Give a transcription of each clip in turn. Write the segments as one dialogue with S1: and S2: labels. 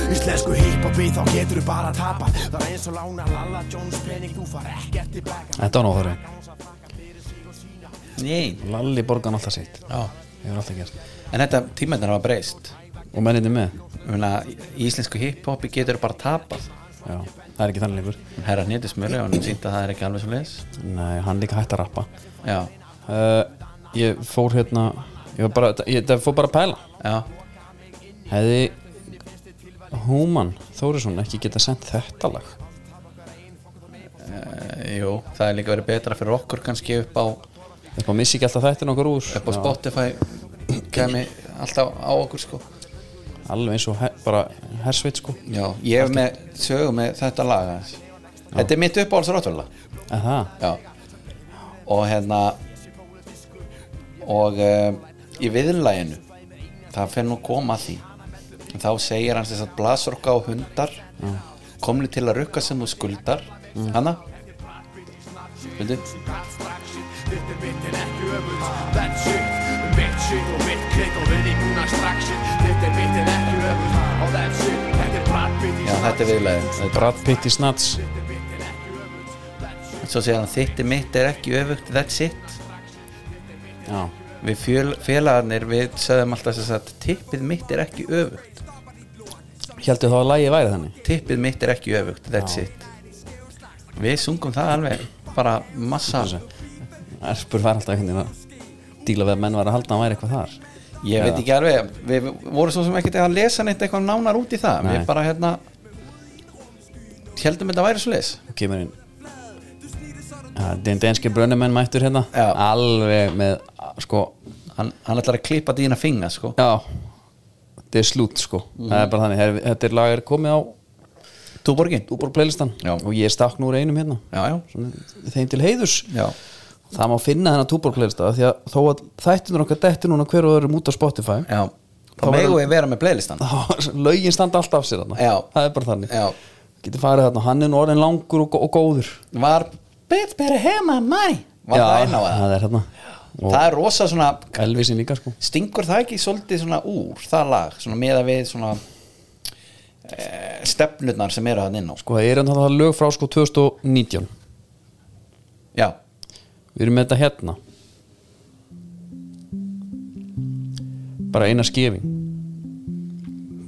S1: upp á við þá getur þú bara að tapa Það er eins og lána Lalla Jones pening Þú far ekkert tilbaka
S2: Þetta var nú óþarfi.
S3: Nei
S2: Lalli borgan alltaf sitt
S3: Já
S2: Ég alltaf gert
S3: En þetta tímendar hafa breyst
S2: Og menninni með
S3: Ég meina, í íslensku hiphopi getur bara tapað
S2: Já, það er ekki þannig lengur
S3: En Herra nýttis mjöli og hann sýnt að það er ekki alveg svo leis
S2: Nei, hann líka hægt að rappa
S3: Já,
S2: uh, Ég fór hérna Ég var bara, ég, það fór bara að pæla
S3: já,
S2: Hefði Húman Þórisson ekki geta sendt þetta lag
S3: e, jú Það er líka verið betra fyrir okkur kannski upp á, upp
S2: Upp á missi ekki alltaf þættin okkur úr
S3: á Spotify kemi alltaf á okkur sko
S2: Alveg eins og her, bara hersveit sko
S3: Já, ég hef með sögum með þetta lag aðeins. Þetta er mitt uppáhalds rotturlag
S2: En það,
S3: Já Og hérna Og um, í viðlæginu Það fer nú að koma að því En Þá segir hann þess að blasorka og hundar Komni til að rukka sem þú skuldar mm. Hanna Vildu?
S1: Allt strax shit, þetta er mitt en ekki öfult That shit, mitt shit og mitt klik og við í núna strax shit Þetta er mitt en ekki öfult Og that shit, þetta er bratbit
S3: Já, þetta er viðlægin Þetta-
S2: Eh, Brad Pitt í Snats
S3: Svo segir hann þitt er mitt er ekki öfugt That's it
S2: Já,
S3: Við fjöl, félagarnir við sögðum alltaf þess að Tippið mitt er ekki öfugt
S2: heldur þá að lagið væri þannig
S3: Tippið mitt er ekki öfugt That's it Við sungum það alveg Bara massa
S2: Erpur var alltaf einhvern veginn að díla við að menn var að halda að hann væri eitthvað þar
S3: Ég veit ekki alveg, við vorum svo sem ekkert að lesa neitt eitthvað nánar út í það
S2: Nei.
S3: Við bara hérna heldum þetta væri svo leis
S2: og kemur inn Ja, Den denski brönnumenn mættur hérna
S3: Já.
S2: alveg með sko,
S3: hann, hann ætlar að klippa dýna finga sko
S2: já þetta er slút sko,
S3: Mhm.
S2: það er bara þannig Her- þetta er lag er komið á
S3: Túborgin
S2: útbúr playlistan
S3: Já.
S2: og ég stakk nú úr einum hérna
S3: Já, já,
S2: Svona, þeim til heiðurs
S3: já,
S2: það má finna þennan túbor playlista því að þó að þættunur okkar detti núna hver og öðrum út á Spotify
S3: já Þá
S2: Þá
S3: megum
S2: verður-
S3: við vera með playlistan
S2: þá lögin standa allt af sér þarna
S3: Já.
S2: það er bara þannig
S3: Já.
S2: getur farið þarna, hann er nú orðin langur og, og góður
S3: Var Bit beri hema mæ Var það einn á það
S2: það er hérna og
S3: Það er rosa svona,
S2: Elvisin líka sko
S3: stingur það ekki svolítið svona úr það lag Svona meða við svona e, stefnurnar sem eru hann inn á sko.
S2: Sko það er hann það lög frá sko 2019
S3: Já,
S2: Við erum með þetta hérna Bara eina skefing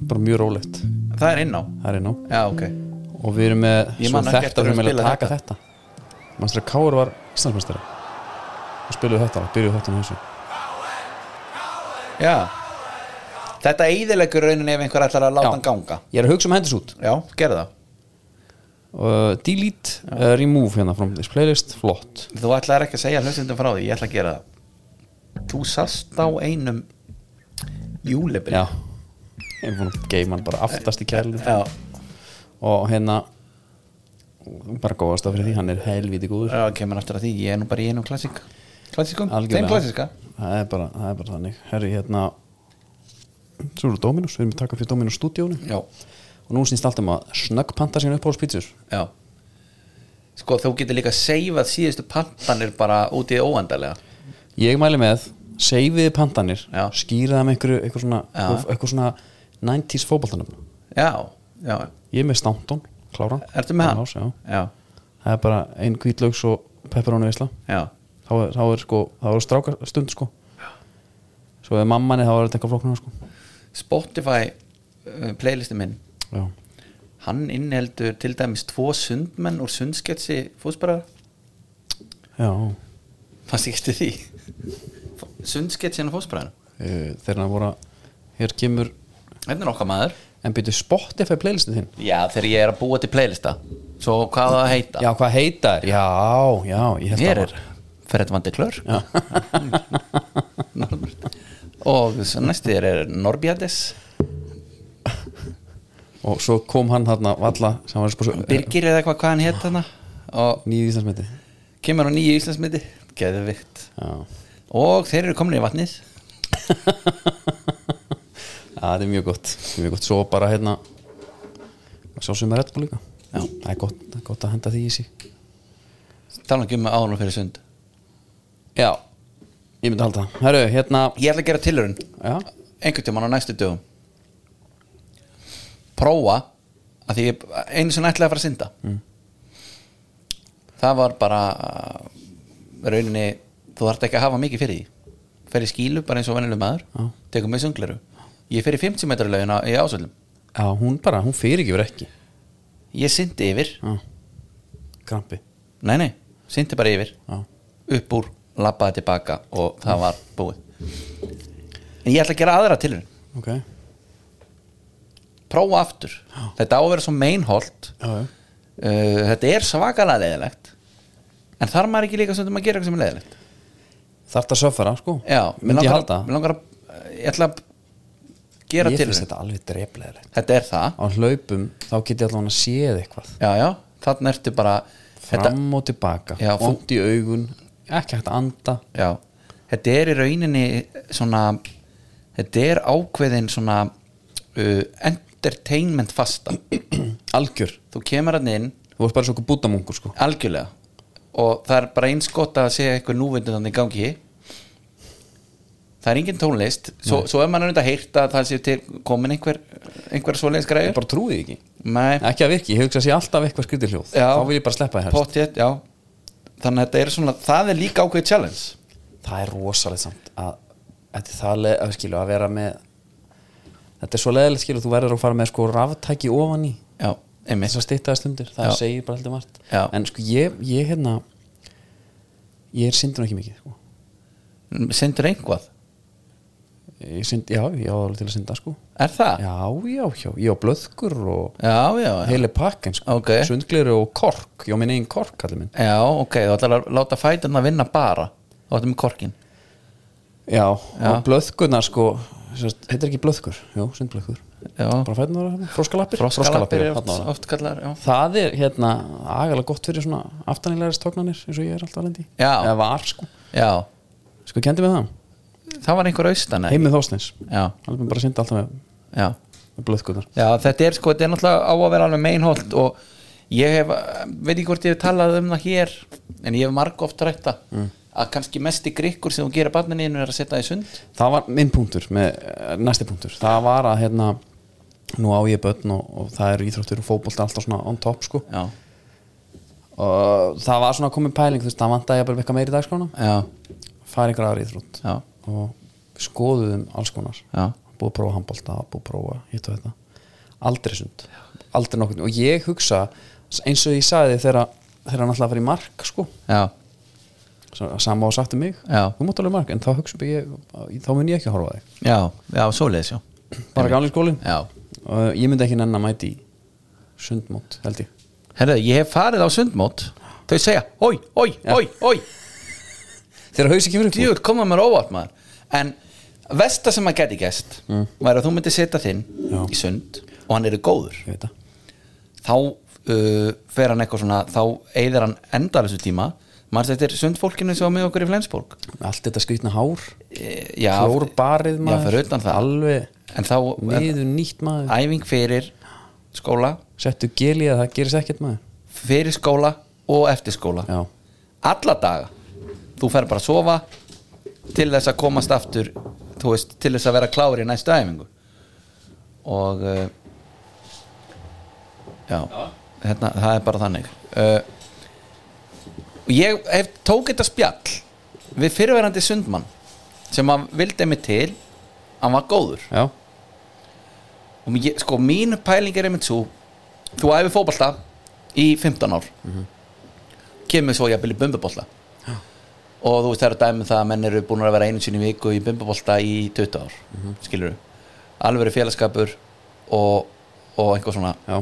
S2: Bara mjög rólegt
S3: það er inn á
S2: Það er ná
S3: Já, ok
S2: Og við erum með
S3: Ég
S2: svo
S3: man ekki
S2: þetta Við
S3: eftir að
S2: erum með að
S3: spila
S2: taka þetta, þetta. Mannstur að Káur var Íslandsmeistari Og spiluðu þetta lag, Byrjuðu þetta með þessu
S3: Já Þetta eiðilegur raunin ef einhver ætlar að láta
S2: Já.
S3: hann ganga
S2: Ég er að hugsa um hendis út
S3: Já, gerðu það
S2: uh, Delete, uh, remove hérna from this playlist Flott
S3: Þú ætlar ekki að segja hlustundum frá því, ég ætla að gera það Þú sast á einum júlibri
S2: Já Ég er búin að geima hann bara aftast í kælinu
S3: Já,
S2: og hérna bara góðast af fyrir því, hann er helviti góður
S3: Já, kemur aftur að því, ég er nú bara í einum klassik Klassikum,
S2: Algjörlega.
S3: þeim klassiska
S2: það er bara, það er bara þannig herri hérna svo eru Dominus, við erum að taka fyrir Dominus stúdíónu
S3: Já,
S2: og nú snýst allt um að snöggpanta sín upp á spítsur
S3: já Sko, þú getur líka að seifa síðustu pantanir bara út í óendalega
S2: ég mæli með, seifiði pantanir
S3: Já.
S2: skýra það með einhverju eitthvað svona,
S3: Já.
S2: eitthvað svona 90s fótboltanum
S3: Já, já,
S2: ég er með Stanton, kláran
S3: ertu með hann?
S2: Ás, já.
S3: já,
S2: það er bara einn kvítlaugs og pepperoni veisla
S3: já,
S2: þá er, þá er sko, þá er stráka stund sko svo ef mamman er þá er þetta eitthvað flóknar sko
S3: Spotify uh, playlisti minn
S2: já
S3: hann innheldur til dæmis tvo sundmenn úr sundsketsi fósbara
S2: Já,
S3: fannst ekki eftir því sundsketsin og fósbara
S2: eh, þegar það voru að hér kemur
S3: þetta er okkar maður
S2: en byrju Spotify playlistin þinn
S3: já þegar ég er að búa til playlista svo hvað á það að heita
S2: Já, hvað heita þér? Já, já, ég held
S3: mér
S2: að
S3: er Fredvandi Klör og svo næstir er Norbjades
S2: var og svo kom hann þarna valla sem var Eh, spásu
S3: Birgir eða hvað, hvað hann hétt þarna og
S2: nýði íslensmeti
S3: kemur á nýju Íslandsmiði geðvikt
S2: Já,
S3: og þeir eru komin í vatnið
S2: Já, það er mjög gott mjög gott, svo bara hérna svo sem er rettból líka
S3: Já.
S2: það er gott, það er gott að henda því í sig
S3: tala ekki um ánum fyrir sund
S2: Já, ég myndi halda það Herru, hérna
S3: ég ætla að gera tilurinn
S2: Já,
S3: einhvern tímann á næstu dögum prófa að að því ég einu sinni ætlaði að fara að synda
S2: Mm.
S3: það var bara uh, rauninni þú þarft ekki að hafa mikið fyrir því fer í skílu bara eins og venjuleg maður
S2: Já.
S3: tekur með sungleru ég fer í 50 metrar laugina í ásöldum
S2: Já, hún bara, hún fyrirgifur ekki
S3: ég syndi yfir,
S2: Já Krampi
S3: nei nei, syndi bara yfir
S2: Já
S3: upp úr, labbaði tilbaka og það var búið en ég ætla að gera aðra tilur
S2: Ok Já,
S3: prófa aftur, þetta á að vera svo meinholt
S2: já
S3: uh, þetta er svakalega leðilegt en þar maður ekki líka sem að gera eitthvað sem er leðilegt
S2: Þarft að söffara, sko
S3: já, mig
S2: Myndi ég
S3: langar,
S2: halda
S3: að- mig langar að eh, ég ætla að gera
S2: Ég
S3: til
S2: finnst
S3: þetta.
S2: þetta alveg dreflegilegt
S3: þetta er það,
S2: Á hlaupum, þá get ég allan að séð eitthvað
S3: já já þannig ertu bara þetta,
S2: Fram og tilbaka
S3: Já, þú-
S2: Vont í augun Ekki hægt að anda
S3: já, þetta er í rauninni svona þetta er ákveðin svona uh, entertainment fasta
S2: Algjör
S3: þú kemur hann inn
S2: Þú vorst bara svo okkur bútamungur, sko
S3: algjörlega og það er bara eins gott að segja eitthvað núvindunan í gangi það er engin tónlist svo, svo er mann auðvitað heyrt að það sé til komin einhver, einhver svoleiðis
S2: Ég
S3: græður
S2: bara trúi því ekki
S3: Nei,
S2: Ekki að virki, ég hugsa að sé alltaf eitthvað skrítið hljóð
S3: Já.
S2: Þá vil ég bara sleppa því helst
S3: potið, já þannig að þetta er svona, það er líka ákveðið challenge
S2: það er rosalegt samt að þetta er það leið, að, skilu, að vera með þetta er svo leiðilegt skilu þú verður að fara með sko raftæki ofan í
S3: já, einmitt
S2: þess að styttaði stundir, það
S3: Já.
S2: segir bara heldur margt
S3: Já.
S2: en sko ég, ég hérna ég er syndun ekki mikið sko.
S3: sendur einhvað,
S2: ég synd, já, ég á alveg til að synda sko
S3: er það?
S2: já, já, já, ég á blöðkur og
S3: já, já, já,
S2: heili pakkin sko,
S3: Ok.
S2: sundgliru og kork ég á minn einn kork, kallið minn
S3: já ok, þú ætlar að láta fætan að vinna bara þú ætlar með korkin
S2: já, og blöðkurnar sko sérst, heitir ekki blöðkur, jú, sundblöðkur
S3: já,
S2: bara fætum það að froskalappir
S3: froskalapir er
S2: þarna var
S3: oft,
S2: það.
S3: oft kallar, já
S2: það er hérna agalega gott fyrir svona aftanilegaris tóknanir eins og ég er alltaf lendi
S3: Já.
S2: eða var sko
S3: já,
S2: sko kendi með það
S3: það var einhver austan eða?
S2: heimið þóstins
S3: já,
S2: hann er bara að synda alltaf með,
S3: já
S2: með blöðkutar
S3: Já, þetta er sko, þetta er náttúrulega á að vera alveg meinholt og ég hef, veit ekki hvort ég hef talað um það hér en ég hef marg oft rætta mm. að kannski mesti grikkur sem þú gerir barnininu er að setja það í sund
S2: það var minn punktur með eh, næsti punktur það var að hérna nú á ég börn og, og það eru íþróttur og fótbolt alltaf svona on top sko
S3: Já,
S2: og það var svona komið pæling þú veist það vantaði að bara eitthvað meiri dagskrána
S3: já,
S2: fara einhver aðra íþrótt
S3: já,
S2: og skoðuðum alls konar
S3: já,
S2: búið að prófa handbólta, búið að prófa hitt og þetta, aldrei sund aldrei nokkuð, og ég hugsa eins og ég sagði þér þegar þegar hann alltaf að fara í mark sko,
S3: já,
S2: sa- sama og sagt um mig
S3: Já.
S2: þú mátt alveg í mark, en þá hugsa ég þá mun ég ekki að horfa á þig,
S3: já, já, svoleiðis, já
S2: bara gamli skólin
S3: Já,
S2: og ég myndi ekki nenn að mæti sundmót, held ég
S3: herðu, ég hef farið á sundmót þau segja, oi, oi, oi, oi
S2: þegar hausi kemur upp úr.
S3: djúl, koma mér óvart maður en vesta sem að geti gæst væri að þú myndir setja þinn
S2: Já.
S3: í sund og hann er góður
S2: ég veit það,
S3: þá uh, fer hann eitthvað svona þá eyðir hann endalessu tíma maður þetta er sundfólkinu sem var með okkur í Flensborg
S2: allt þetta skrýtna hár
S3: Eh, já,
S2: klórbarið
S3: já,
S2: maður
S3: fyrir utan það.
S2: alveg
S3: en þá er
S2: niður nýtt maður
S3: æfing fyrir skóla
S2: settu geli að það gerist ekkert maður
S3: fyrir skóla og eftir skóla
S2: já,
S3: alla daga þú fer bara að sofa til þess að komast aftur þú veist, til þess að vera klári í næstu æfingu og uh, já, Hérna, það er bara þannig uh, ég hef tók þetta spjall við fyrirverandi sundmann sem hann vildi mig til hann var góður
S2: já,
S3: og ég, sko mín pæling er einmitt svo þú æfi fótbolta í 15 ár kemur svo jafnvel í bumbubolta og þú veist það eru dæmi um það að menn eru búin að vera einu sinni í viku í bumbubolta í 20 ár mm -hmm. skilur alveg er félagskapur og, og einhver svona
S2: já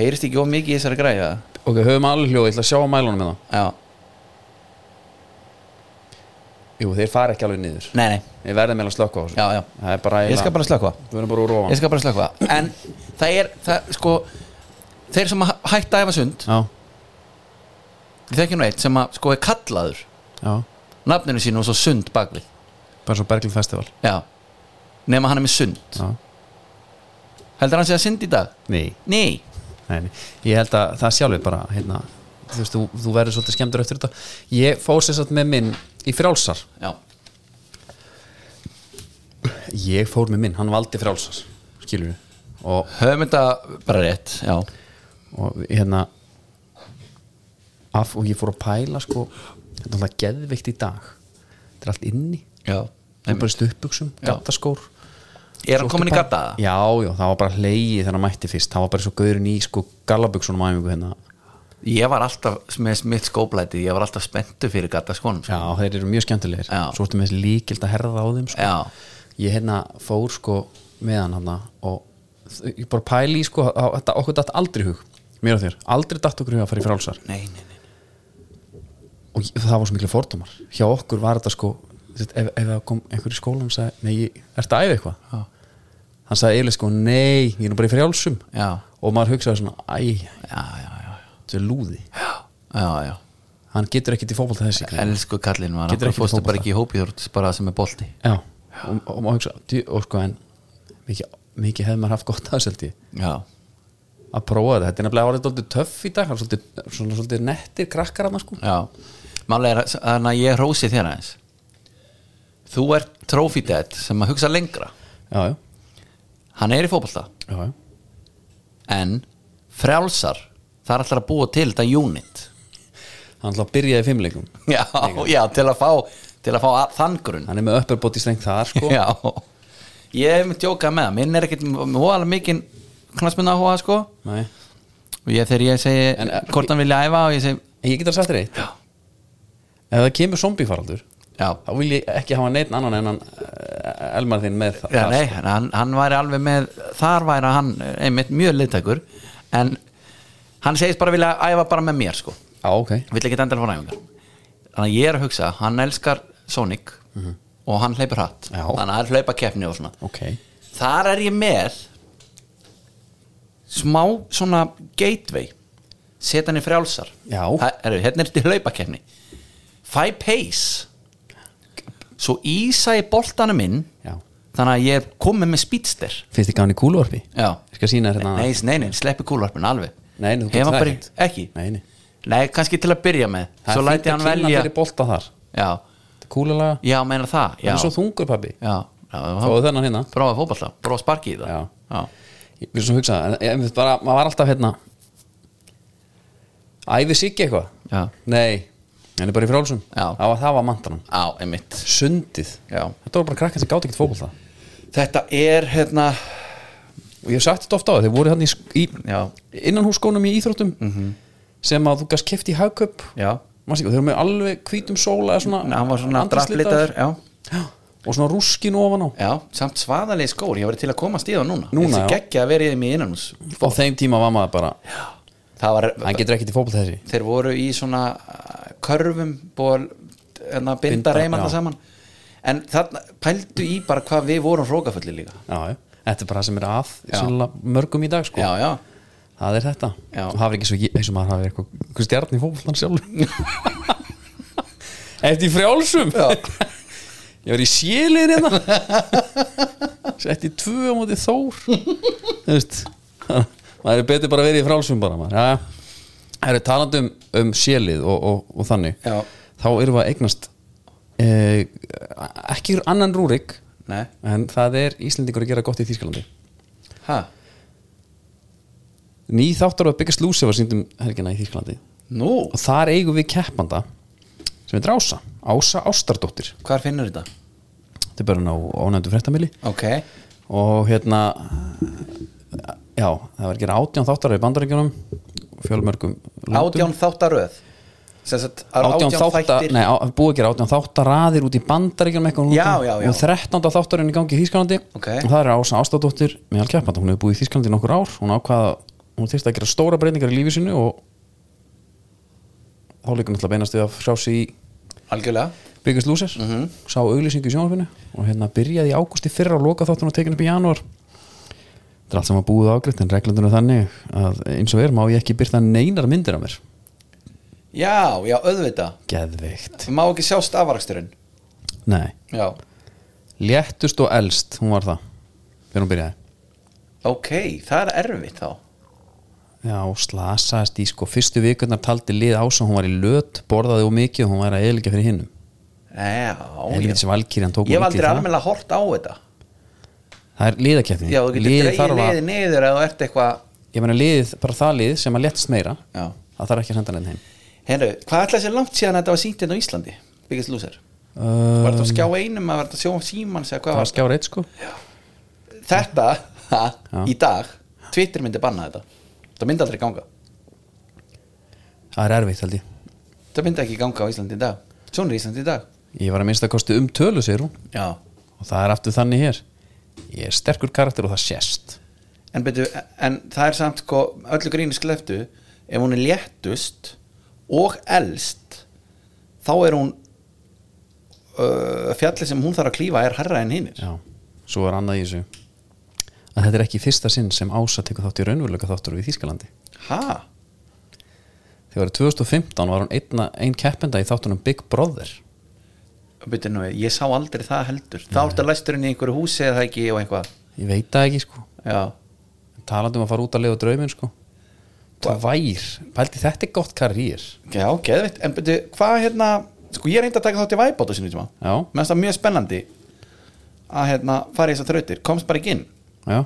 S3: heyrist ekki of mikið í þessari græða
S2: Ok, höfum alveg hljóð, ég ætla að sjá á mælunum hérna. með
S3: já,
S2: það Jú, þeir fara ekki alveg niður
S3: nei nei,
S2: Ég verði með að slökka á þessu
S3: já já
S2: Það er bara
S3: ég skal bara slökva
S2: Við verðum bara úr ofan
S3: ég skal bara slökva en það er, það, sko þeir sem hæ- hætta að efa sund
S2: Já,
S3: ég þekki nú eitt sem að sko er kallaður
S2: já,
S3: nafninu sínu og svo sund bakvið
S2: bara svo Berglind Festival
S3: já, nema hann er með sund
S2: Já,
S3: heldur hann sé að sund í dag?
S2: nei,
S3: nei,
S2: nei, nei Ég held að það sjálfur bara, hérna Þú veist, þú, þú verður svolítið skemmtur eftir þetta Ég fór sér satt með minn í frjálsar
S3: já,
S2: Ég fór með minn, hann valdi frjálsar Skilur við og,
S3: höfum þetta bara rétt já,
S2: og hérna af, og ég fór að pæla sko, þetta er alltaf geðveikt í dag þetta er allt inni
S3: já.
S2: það er bara stupbuksum, gattaskór
S3: er hann
S2: Svo
S3: komin í
S2: ertu bara-
S3: gata?
S2: Já, já, það var bara hlegið þegar hann mætti fyrst það var bara svo gaurin í sko gallabuksunum æfingu hérna
S3: ég var alltaf með mitt skóplæti ég var alltaf spenntu fyrir sko. gata skonum
S2: Já, þeir eru mjög skemmtilegir
S3: Já.
S2: Svo ertu með þessi líkild að herða á þeim sko.
S3: Já.
S2: Ég hérna fór sko með hann hana og þ- ég bara pæli í sko á, þetta, okkur datt aldrei í hug, mér og þér aldrei datt okkur í hug að fara í frálsar
S3: nei, nei, nei.
S2: og ég, það var svo miklu fordómar hjá okkur var þetta sko þú veist, ef, ef það kom einhver í skólan og sagði nei, ég- ertu að æfa eitthvað
S3: Já.
S2: hann sagði eiginlega sko, nei, ég er nú bara í frjálsum
S3: Já.
S2: og maður hugsaði svona, æ,
S3: já, já, já,
S2: þetta er lúði
S3: já, já.
S2: hann getur ekkert í fótbolta þessi grein.
S3: elsku kallinn var
S2: Getur
S3: hann
S2: ekki
S3: fórstu
S2: fótbolta.
S3: bara ekki í hópið þú bara sem er bolti
S2: já, og, og, og, hugsa, djú- og sko en mikið, mikið hefði maður haft gott af þessi held ég
S3: já,
S2: að prófa þetta, þetta er nefnilega orðið dálítið töff í dag það er svolítið, svona svolítið nettir krakkar hann sko
S3: já málega er að- að ég hrósi þér aðeins þú ert trophy dad sem að hugsa lengra
S2: já, já,
S3: hann er í fótbolta
S2: já, já.
S3: en frjálsar það er alltaf að búa til þetta unit
S2: hann ætla að byrja í fimmleikum
S3: já, já, til að fá til að fá að- þann grunn
S2: hann er með upperbóti strengt þar sko
S3: já ég hef mér tjókað með það, minn er ekkert hóðalega mikinn knastmynda hóða sko
S2: Nei.
S3: og ég þegar ég segi
S2: En, eh,
S3: hvort hann vilja æfa og ég segi
S2: en ég getur að sagt þér eitt
S3: já,
S2: ef það kemur zombifaraldur
S3: já,
S2: þá vil ég ekki hafa neitt annan en hann uh, elmar þinn með það
S3: já nei, hann, hann væri alveg með þar væri hann einmitt mjög liðtækur en hann segist bara vilja æfa bara með mér sko
S2: Já, ok,
S3: vill ekki endilega fór æfingar þannig að ég er að hugsa, hann elskar Sonic og hann hleypur hatt
S2: Mhm. Já.
S3: þannig að það er hlaupa keppni og svona
S2: ok
S3: þar er ég með smá svona gateway setja hann í frjálsar
S2: Já.
S3: Það, er, hérna er þetta hlaupa keppni fæ pace svo ísa í boltanum minn
S2: Já.
S3: þannig að ég er komið með speedster
S2: Finnst þið gáðan í kúluvarpi?
S3: Já.
S2: Ég skal sína þér hérna
S3: nei, nei, nei, sleppi kúlvarpin alveg
S2: Nei, nei, þú
S3: Hef
S2: getur
S3: hann
S2: það
S3: bara-
S2: ekkert.
S3: ekki
S2: Nei, nei.
S3: Nei, kannski til að byrja með
S2: Það
S3: Svo
S2: er fínt
S3: læti
S2: að
S3: hann
S2: kynna
S3: velja
S2: fyrir bolta þar
S3: Já,
S2: Þetta er kúlulaga
S3: já, meina það
S2: Það
S3: Já,
S2: er svo þungur pabbi
S3: já, já
S2: Fáðu þennan hérna.
S3: Prófa fótballa, prófa að sparki í það
S2: Já.
S3: já,
S2: Ég vil svo hugsa það en- en við bara, Maður var alltaf hérna Æfi sig eitthvað
S3: Já.
S2: Nei, hann er bara í frálsum
S3: Já.
S2: Það var, það var mantanum
S3: á einmitt
S2: Sundið
S3: Já.
S2: Þetta var bara krakkan sem gátt ekkert fótbolta
S3: Þetta er, hérna
S2: Og ég hef sagt þetta ofta á það Þeir voru hann í, sk- í
S3: Já.
S2: innan hússkónum í íþróttum
S3: Mhm.
S2: -hmm. Sem að þú gast keft í hagköp
S3: Já,
S2: Manstu ekki, og Þeir eru með alveg hvítum sóla eða svona,
S3: Nei, hann var svona
S2: andlitslitaður.
S3: draflitaður Já,
S2: Já, Og svona rúskin ofan á
S3: já, samt svaðalegi skór Ég var til að komast í það núna
S2: Núna,
S3: Þessi
S2: já.
S3: geggja að vera í þeim í innanús
S2: Á þeim tíma var maður bara
S3: Það var,
S2: Hann getur ekkert í fótbolta þessi
S3: þeir voru í svona uh, körfum búið að hérna, binda
S2: Binda,
S3: reymanda
S2: já.
S3: saman En þarna, pældu í bara hvað við vorum rókafulli líka
S2: já, já. þetta er bara það sem er að
S3: Já.
S2: sennilega mörgum í dag sko.
S3: Já, já,
S2: það er þetta
S3: Já.
S2: og það er ekki svo ég- eins og maður hafi eitthvað einhver stjarn í fótboltan sjálf eftir í frjálsum
S3: Já.
S2: ég var í sélir hérna sett í tvö á móti þór þú veist maður er betur bara að vera í frjálsum bara maður ja. það eru talandi um, um sélið og, og, og þannig
S3: Já.
S2: þá erum við að eignast eh, ekki annan rúrik
S3: nei,
S2: en það er Íslendingur að gera gott í Þýskalandi
S3: ha,
S2: Ný þáttur að byggja slúsi var síndum helgina í Þýskalandi
S3: nú
S2: og þar eigum við keppanda sem heitir Ása, Ása Ástardóttir
S3: Hvar finnur þetta?
S2: þetta er bara ná ánægðu fréttamili
S3: Ok,
S2: og hérna já, það var að gera átján þáttar í bandaríkjunum fjölmörgum löndum.
S3: átján þáttaröð Sem sagt, það eru
S2: átján þáttar,
S3: þættir
S2: nei, á, búið að gera átján þáttar raðir út í bandaríkjum eitthvað
S3: Já, já, já.
S2: og 13. þáttarinn í gangi í Þýskalandi
S3: Ok.
S2: og það er Ása Ástadóttir meðal keppanda, hún hefur búið í Þýskalandi í nokkur ár hún ákvaða, hún þyrst að gera stóra breytingar í lífi sinu og þá líka náttúrulega beinast við að sjá sig í
S3: Algjörlega
S2: Biggest Loser,
S3: Mhm.
S2: sá auglýsingu í sjónarfinu og hérna byrjaði í águsti fyrra og loka þáttunum og tekinu upp í janúar þetta er allt saman búið og ágriðt en reglundunum þannig að eins og er má ég ekki byrta neinar myndir af mér
S3: Já, já, auðvitað
S2: geðveikt,
S3: Má ekki sjá stafaraksturinn
S2: nei
S3: Já,
S2: léttust og elst, hún var það þegar hún byrjaði
S3: ok, það er erfitt þá
S2: já, og slasaðist í sko fyrstu vikurnar taldi lið ás og hún var í löt borðaði og mikið og hún var að eðlika fyrir hinnum
S3: Já,
S2: Helvítis Valkyrjan tók
S3: Ég hef
S2: hún illa í
S3: aldrei
S2: það.
S3: almennilega hort á þetta
S2: það er liðakeppni
S3: já, þú getur
S2: liðið
S3: dreigið
S2: þarf að,
S3: liðið niður eða þú ert eitthvað
S2: ég meina liðið, bara það liðið sem að léttst meira
S3: Já.
S2: það þarf ekki að senda neinn heim
S3: Henru, hvað ætlaði sér langt síðan að þetta var sýnt enn á Íslandi? Biggest Loser
S2: uh,
S3: Var þetta á skjá einum, eða var þetta á sjóma síman eða hvað
S2: það
S3: var
S2: var skjára eitt sko
S3: Þetta, ha,
S2: Já.
S3: í dag Twitter myndi banna þetta Þetta myndi aldrei ganga
S2: það er erfitt held ég
S3: Þetta myndi ekki ganga á Íslandi í dag Svona er Íslandi í dag
S2: ég var að minnsta kosti um tölu segir hún
S3: Já
S2: og það er aftur þannig hér ég er sterkur karakter og það sést
S3: En, byrju, en það er samt sko, öllu grínu skleftu ef hún er léttust og elst þá er hún uh, fjallið sem hún þarf að klífa er herra en hinnir
S2: já, svo er annað í þessu að þetta er ekki í fyrsta sinn sem Ása tekur þátt í raunveruleika þáttur við Þýskalandi
S3: Ha?
S2: þegar árið 2015 var hún einna, ein keppenda í þáttunum Big Brother
S3: Byrju, nú, ég sá aldrei það heldur þá ertu að læstur henni í einhverju húsi eða það ekki og eitthvað
S2: ég veit það ekki sko
S3: Já,
S2: talandum að fara út að lifa drauminn sko það vær, pælti þetta er gott karrýr
S3: já geðvitt En byrju, hvað hérna sko ég reyndi að taka þátt í væbót á sinni tíma
S2: Já.
S3: Mér finnst það mjög spennandi að hérna fara í þessar þrautir komst bara ekki inn
S2: já,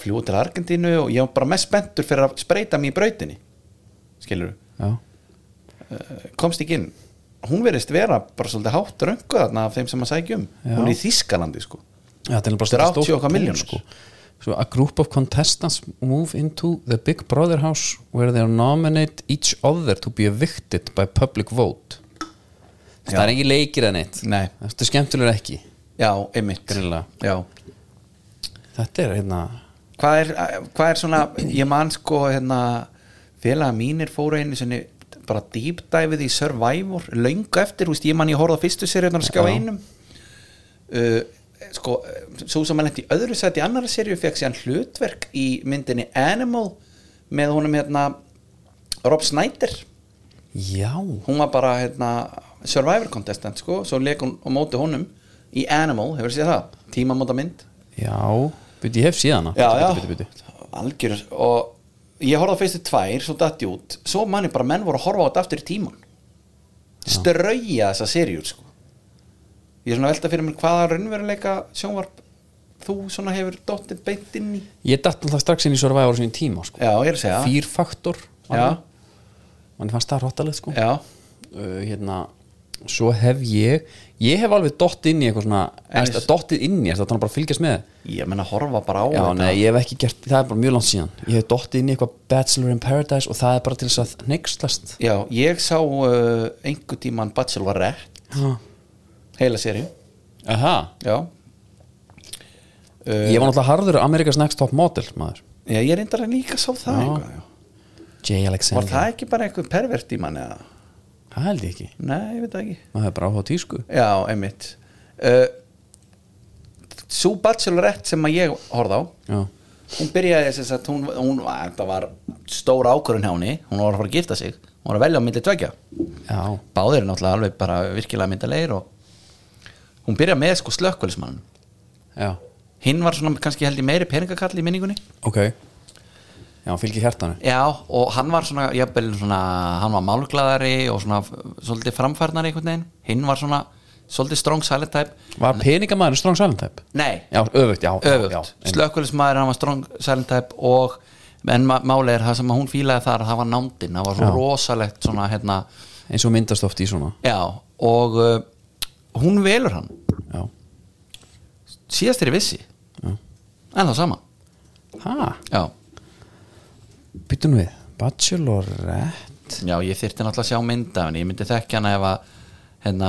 S3: fljóð til Argentínu og ég var bara mest spenntur fyrir að spreita mér í brautinni skilur,
S2: já,
S3: komst ekki inn hún verðist vera bara svolítið hátt röngu þarna af þeim sem að sækja um
S2: Já.
S3: hún er í Þískalandi sko
S2: já þetta er bara
S3: Þetta er
S2: stórt
S3: 80 okkar
S2: tún,
S3: milljónir.
S2: So a group of contestants move into the Big Brother house where they nominate each other to be evicted by public vote það
S3: Já.
S2: er ekki leikir en eitt
S3: Nei.
S2: þetta er skemmtilegur ekki
S3: já, einmitt
S2: Greinilega.
S3: já.
S2: þetta er hérna
S3: Hvað, er, hvað er svona ég man sko hérna félaga mínir fóru einu sinni bara dýpdæfið í Survivor löngu eftir, þú veist, ég man ég horfði á fyrstu seríunar að skjá
S2: Já.
S3: einum uh, sko, svo sem hann lendi í öðru sæti í annara seríu fekk síðan hlutverk í myndinni Animal með honum hérna Rob Snyder
S2: já,
S3: hún var bara hérna Survivor contestant sko, svo leik hún á móti honum í Animal, hefur séð það tímamóta mynd
S2: já, byrju ég hef síðan
S3: já, já,
S2: Byrju, byrju, byrju.
S3: algjör og ég horfði á fyrstu tvær svo datt ég út, svo manni bara menn voru að horfa á þetta aftur í tíman strauja þessa seríur sko ég er svona að velta fyrir mér hvaða raunveruleika sjónvarp þú svona hefur dottin beint inn í
S2: ég datt alltaf strax inn í Survivor á sinni tíma sko.
S3: já, ég er að segja það.
S2: fýrfaktor
S3: Já.
S2: mann fannst það rottalegt sko
S3: já,
S2: uh, hérna svo hef ég ég hef alveg dott inn í eitthvað svona
S3: En-
S2: erst, dottit inn í, þannig að um bara að fylgjast með
S3: ég menna horfa bara á
S2: já,
S3: þetta
S2: nei, ég hef ekki gert, það er bara mjög langt síðan ég hef dottið inn í eitthvað Bachelor in Paradise og það er bara til þess að neykslast
S3: já, ég sá uh, einhver tíman Bachelorette heila seríu,
S2: aha
S3: já uh,
S2: ég var náttúrulega harður Amerikas Next Top Model maður,
S3: Uh, já, ég reyndar að líka sá það eitthvað, já.
S2: J.
S3: var
S2: Alexander
S3: það ekki bara einhver pervert í manni eða?
S2: það held ég ekki,
S3: Nei, ég veit það ekki
S2: maður hefur bara áhuga á tísku
S3: Já, einmitt uh, Sú Bachelorette sem að ég horfði á
S2: já,
S3: hún byrjaði þess að hún, hún það var stóra ákvörun hjá henni hún var að fara að gifta sig, hún var að velja á myndi tveggja
S2: já,
S3: báðir er náttúrulega alveg bara virkilega myndalegir og hún byrjaði með sko slökkvölismann
S2: já,
S3: hinn var svona kannski held í meiri peningakall í minningunni
S2: ok já, fylgir hjartanu
S3: Já, og hann var svona, jafnvel svona, hann var málglaðari og svona svolítið framfærnari einhvern veginn, hinn var svona svolítið strong silent type,
S2: var peningamæður strong silent type?
S3: nei,
S2: já, öfugt, já, já, já,
S3: öfugt,
S2: einmitt.
S3: slökkulismæður hann var strong silent type og en ma- málið er það sem að hún fílaði þar það var nándin, það var svo
S2: Já.
S3: rosalegt svona hérna,
S2: eins og myndast oft í svona
S3: já, og uh, hún velur hann,
S2: já,
S3: síðast er ég vissi en það sama,
S2: hæ?
S3: já
S2: Býtum við, Bachelorette
S3: Já, ég þyrfti náttúrulega að sjá mynd af henni Ég myndi þekki hana ef að hérna,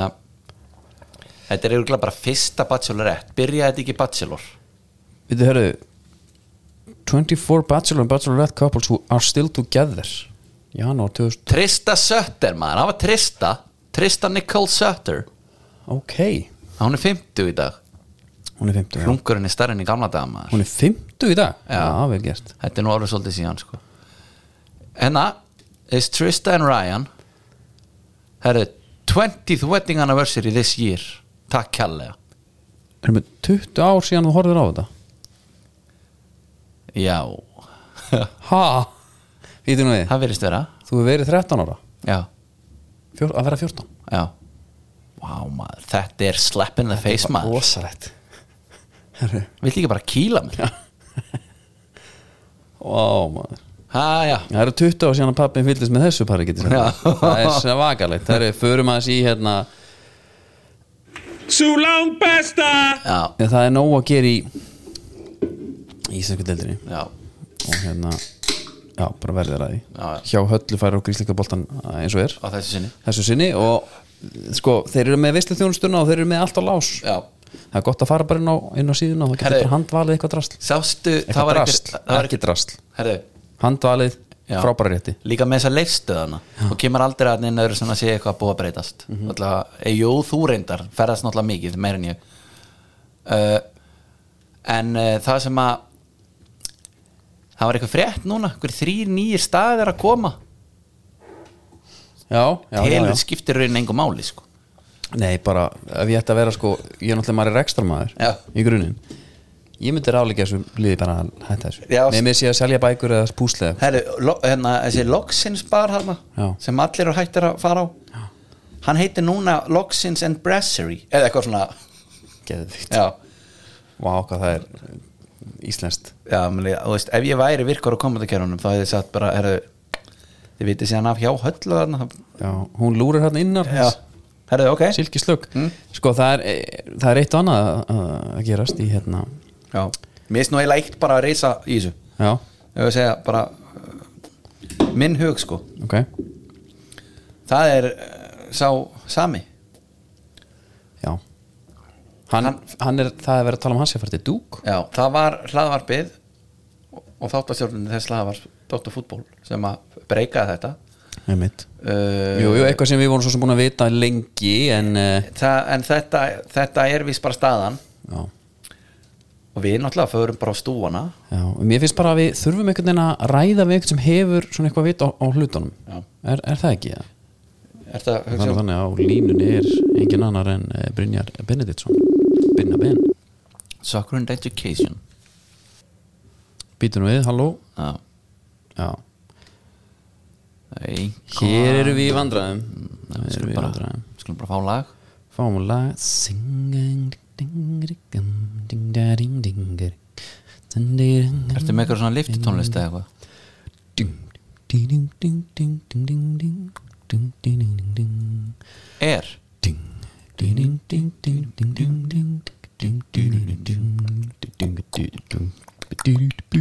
S3: Þetta er eiginlega bara fyrsta bachelorette Byrjaði þetta ekki bachelor
S2: Við þið hörðu 24 Bachelor and Bachelorette couples who are still together Janúar 2000
S3: Trista Sutter, maður, það var Trista Trista Nicole Sutter
S2: Ok,
S3: Hún er 50 í dag
S2: hún er 50 já.
S3: Hlungurinn er stærri enn í gamla daga maður
S2: Hún er 50 í dag?
S3: Já.
S2: vel gert
S3: Þetta er nú alveg svolítið síðan sko Hérna is Trista and Ryan Herðu 20th wedding anniversary this year Takk kjallega
S2: Erum við 20 ár síðan þú horfður á þetta?
S3: Já,
S2: Ha? Býtum við,
S3: það verðist vera
S2: þú hefur verið 13 ára
S3: Já
S2: Fjör, að vera 14
S3: Já Vá maður, þetta er slap in the face maður
S2: Rosalegt Herru,
S3: Viltu ekki bara kýla mig?
S2: Vá, maður
S3: Ha, já
S2: Það eru 20 ár síðan að pappin fyllist með þessu pari getur
S3: Já.
S2: sagt. Það er svakalegt Það eru, förum aðeins í hérna
S4: Sú langt besta!
S3: Já,
S2: ja, Það er nóg að gera í Íslensku deildinni
S3: já,
S2: Og hérna, já, bara verðið ræði
S3: Já, já.
S2: Hjá höllu færi og gríslíkaboltan eh, eins og er
S3: á þessu sinni
S2: Þessu sinni og sko, þeir eru með veisluþjónustuna og þeir eru með allt á lás
S3: Já,
S2: Það er gott að fara bara inn á, inn á síðuna og það getur
S3: Herri.
S2: bara handvalið eitthvað drasl
S3: sástu það
S2: Eitthvað
S3: var
S2: drasl,
S3: einhver- það var
S2: ekki drasl
S3: Herðu,
S2: Handvalið,
S3: Já.
S2: frábæra rétti
S3: líka með þessa leifstöðana og kemur aldrei að neina öðru sem að sé eitthvað að búa að breytast mm
S2: Mhm.
S3: -hmm. Jó, þú reyndar, ferðast náttúrulega mikið meir en ég uh, En uh, það sem að það var eitthvað frétt núna einhver þrýr nýjir staðir að koma
S2: Já, já, já,
S3: Telur
S2: já.
S3: skiptir raunin engum máli sko.
S2: Nei, bara ef ég ætti að vera sko ég er náttúrulega maður er rekstramæður
S3: Já.
S2: í grunin ég myndi ráleika þessu liði bara að hætta þessu
S3: Já.
S2: Nei, mér sé að selja bækur eða púslega
S3: Herru, lo, hérna, þessi Loxins bar hana,
S2: Já.
S3: sem allir eru hættir að fara á já. hann heitir núna Loxins and Brasserie eða eitthvað svona
S2: Geðvikt
S3: já,
S2: Vá, hvað það er íslenskt
S3: já, meni, þú veist, ef ég væri virkar á komandakjörunum þá hefði ég sagt bara, herru þið vitið síðan af hjá höllu þarna
S2: Já, hún lúrir hérna innar
S3: já, Mm. herru, ok
S2: Silkislögg Sko, það er, eh, það er eitt og annað að- að gerast í hérna
S3: já. mér finnst nú eiginlega eitt bara að reysa í þessu
S2: Já,
S3: ef við segja bara uh, minn hug sko
S2: ok
S3: það er uh, sá sami
S2: Já Hann, hann,
S3: Hann-
S2: er, það er verið að tala um hans ég fært í dúk
S3: Já, það var hlaðvarpið og þáttastjórnum þess hlaðvarp Dóttar fútból sem að breykaði þetta
S2: Nei mitt
S3: uh,
S2: Jú, jú, eitthvað sem við vorum svo sem búin að vita lengi en, eh,
S3: það, En þetta, þetta er vís bara staðan
S2: já
S3: og við náttúrulega förum bara á stúana
S2: Já, og mér finnst bara að við þurfum einhvern veginn að ræða við einhvern sem hefur svona eitthvað vit á, á hlutunum
S3: Já.
S2: er, er það ekki? Ja?
S3: Er það,
S2: Þannig,
S3: hugsa, um-
S2: þannig að á línunni er engin annar en eh, Brynjar Benediktsson Binna Ben
S3: Soccer and Education
S2: Býtum við, halló
S3: Já,
S2: Já.
S3: það er einhver-
S2: Hér erum við í vandræðum
S3: Nei, við
S2: Hér erum
S3: skulum
S2: við í
S3: bara,
S2: vandræðum
S3: skulum bara fá lag
S2: Fáum úr lag Singing ding, ding, ding, da, ding, ding, ding, ding, ding.
S3: Ertu með eitthvað svona liftitónlist eða eitthvað?
S2: Ding, ding, ding, ding, ding, ding, ding, ding, ding, ding, ding, ding.
S3: Er
S2: Ding, ding, ding, ding, ding, ding, ding, ding, ding, ding, ding, ding, ding, ding, ding.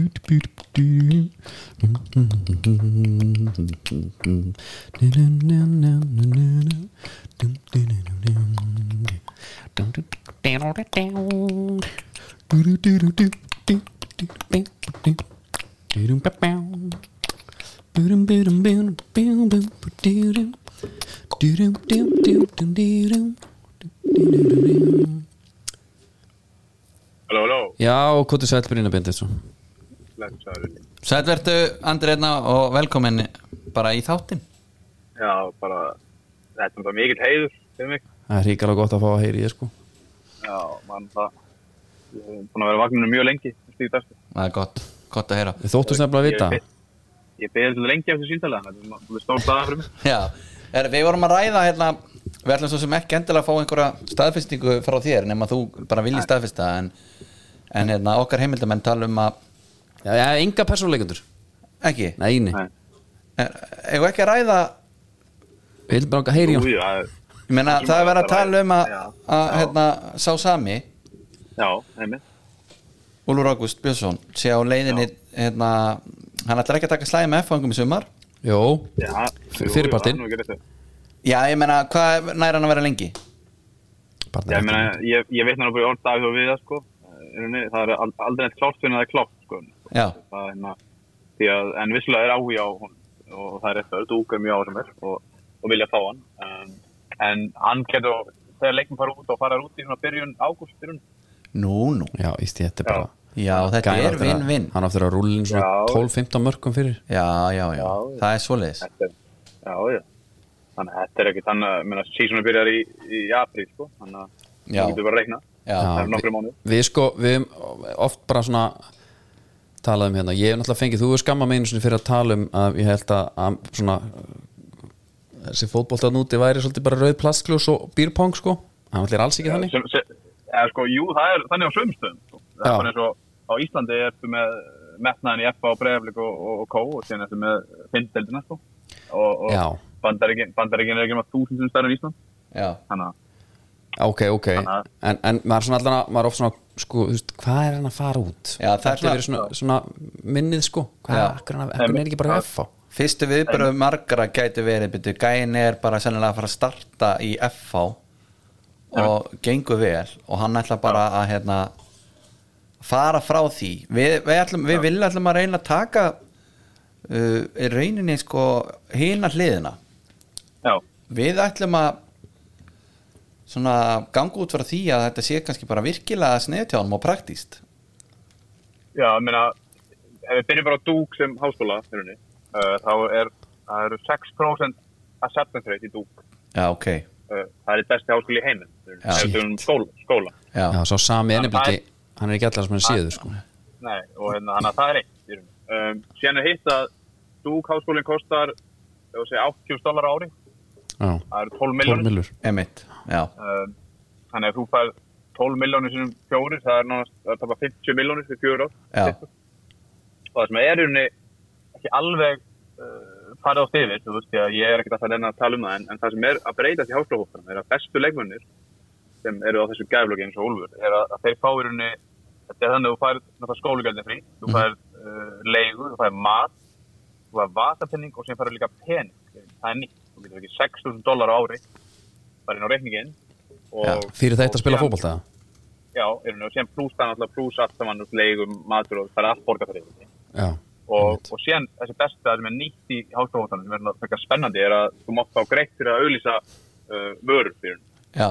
S5: Halló, halló,
S2: Já, og hvað er sætt Brynja Benditsson?
S5: blessaður.
S3: Sætvertu, Andri Einna og velkomin bara í þáttinn
S5: Já, bara, þetta er bara mikill heiður fyrir mig.
S2: Það er ríkala gott að fá að heyri ég sko
S5: Já, mann það, ég hef búin að vera vagninu mjög lengi, stíði dagstur.
S3: Það er gott, gott að heyra
S2: Við þóttum sem að
S5: Ég
S2: vita
S5: beið- Ég beði þetta lengi eftir síntalega, þetta er ma- þetta er stór dag fyrir mig.
S3: Já, er, við vorum að ræða hérna, við ætlum svo sem ekki endilega að fá einhverja staðfestingu frá þér nema þú bara vilji staðfesta en, en hérna, okkar heimildamenn tala um að
S2: Já, já, enga persónuleikundur
S3: ekki,
S2: Nei, nei,
S5: Nei.
S3: er, eigum ekki að ræða
S2: við heldum bara að heyri
S5: Jú,
S2: hún
S5: jú, það er,
S3: ég meina
S5: Ekki
S3: það er verið að
S5: bara að
S3: tala um að,
S5: ræða, já.
S3: að
S5: Já.
S3: hérna, sá sami
S5: já, einmitt.
S3: Úlfur Ágúst Björnsson sé á leiðinni hérna, hann ætlar ekki að taka slæði með F-fangum í sumar
S2: Jó,
S5: Já,
S2: F- fyrir partinn.
S5: Já, það er nú ekki rétt hjá-
S3: Já, ég meina, hvað nær hann að vera lengi?
S2: bara
S5: Já, ég meina, ég, ég veit náttúrulega bara í orð dag hjá við það, sko. Í rauninni, Það er al- aldrei neitt klárt fyrir en það er klárt, sko.
S3: Já,
S5: það er hérna því að, en vissulega er áhuga á hún og það er eftir, þú er mjög áhuga mér og, og vilja fá hann um, en hann getur, þegar leikum fara út og fara út í svona byrjun, ágúst byrjun
S3: nú, nú
S2: Já, íst ég, þetta er
S5: Já.
S2: bara
S3: Já, þetta
S2: Gæinn
S3: er
S2: átti að-
S3: vinn-vinn
S2: Hann áttur að rúlin svona
S5: Já.
S2: 12-15 mörgum fyrir
S3: Já, já, já,
S5: Já.
S3: það er svoleiðis
S5: þetta er, já, já þannig að þetta er ekkert þannig að, menna, sísonu byrjar í, í apríl, sko, þannig að
S3: Já.
S5: það getur bara að reikna,
S3: Já,
S5: það er nokkru mánuð
S2: Við sko, við hefum oft bara svona talað um hérna Ég hef náttúrulega fengið, þú hefur skamma mig einu sinni fyrir að tala um að ég held að, að svona þessi fótboltaðn úti væri svolítið bara rauð plastgljós og býrpong sko Hann ætlir alls ekki þannig
S5: sem, sem, eða, sko, jú, það er þannig á sömstöðum sko. það
S2: Já.
S5: er bara eins og á Íslandi ertu með metnaðin í FA og Breiðaflik og, og, og Kó og síðan ertu með finndeldina sko. og,
S2: Já.
S5: og bandaríkin, bandaríkin er ekki með þúsundum stærri en Ísland
S3: já,
S5: þannig að
S2: ok, ok
S5: Þannig að-
S2: en, en maður er svona allan að, maður er oft svona sko, þú veist, hvað er hann að fara út
S3: Já, það er
S2: Þetta
S3: svona-
S2: verið svona, svona minnið sko hvað,
S3: Já.
S2: akkur hann akkur hann er ekki bara F á
S3: fyrstu viðbröð margra gæti verið byrju, gæin er bara sennilega að fara að starta í FH og gengur vel og hann ætla bara að hérna, fara frá því við, við, ætlum, við viljum ætlum að reyna að taka uh, í rauninni sko hina hliðina
S5: já,
S3: við ætlum að svona ganga út frá því að þetta sé kannski bara virkilega sniðtjánum og praktíst
S5: já, ég meina ef við byrjum bara á Dúk sem háskóla uh, þá er það eru 6% acceptance rate í Dúk
S3: já ok,
S5: uh, það er besti háskóli í heiminn
S3: Já.
S5: ef við um skóla, skóla.
S3: já,
S2: já, svo sami ennum
S5: Það er-
S2: ekki hann er ekki allar sem hann séður sko
S5: Nei, og hérna, þannig að það er eitt í raun. um, síðan er hitt að Dúk háskólinn kostar ef við segja 80 dólar ári
S2: já,
S5: það eru 12
S2: 12
S5: miljónir
S2: millur
S3: emitt já,
S5: um, þannig að þú fær 12 miljónir sinum fjórir, það er náttúrulega að tapa 50 miljónir fyrir fjóru átt
S3: já,
S5: og það Sko, sem er í rauninni ekki alveg uh, farið á stifir þú veist, því að ég er ekkert alltaf að reyna að tala um það en, en það sem er að breytast í háskólahóttanum er að bestu leikmennir sem eru á þessu gæflöki eins og Úlfur er að, að þeir fá í rauninni þetta er þannig að þú fær náttúrulega skólugjaldin frí þú
S2: Mhm.
S5: fær uh, leigu, þú fær mat þú fær vatapenning og sem fær líka pening það er nýtt, þú getur ekki 6.000 dólar á ári bara inn á reikningin og,
S3: Já,
S2: fyrir þetta
S5: og
S2: að spila
S5: síðan-
S2: fótbolta
S5: já, í rauninni, og síðan pluss það náttúrulega pluss allt saman út leigum, matur og það er allt borga fyrir þetta
S2: já,
S5: og, og síðan þessi besta sem er nýtt í háskólahóttanum sem er náttúrulega frekar spennandi er að þú mátt fá greitt fyrir að auðlýsa uh, vörur fyrir hún.
S3: já,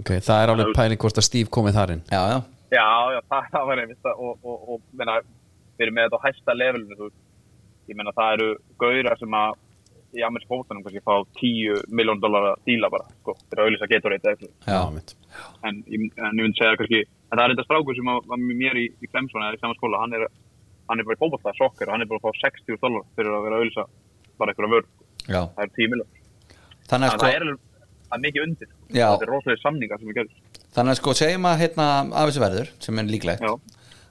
S2: ok, það er alveg pæling hvort að Steve komið þar inn
S3: já, já.
S5: Já, já, það, það var einmitt það, og, og, og menna, við erum með þetta á hæsta levelinu þú, veist. ég menna það eru gauðra sem að í amerísk fóttanum kannski fá 10 miljón dólar að díla bara sko, fyrir að auðlýsa getur eitt eitthvað
S3: Já.
S2: mitt.
S5: en, ég- en ég myndi segja kannski en það er þetta strákur sem að- var með mér í, í Clemson eða í sama skóla, hann er, hann er bara í fótballtað sokker og hann er bara að fá 60 dólar fyrir að vera að auðlýsa bara einhverja vörur sko.
S3: já.
S5: það eru 10 miljón
S3: þannig að
S5: en það er
S3: sko,
S5: alveg það er mikið undir sko.
S3: Já.
S5: þetta er rosalega samninga sem við gerum
S3: þannig að sko segjum að hérna af þessu verður sem er líklegt
S5: Já.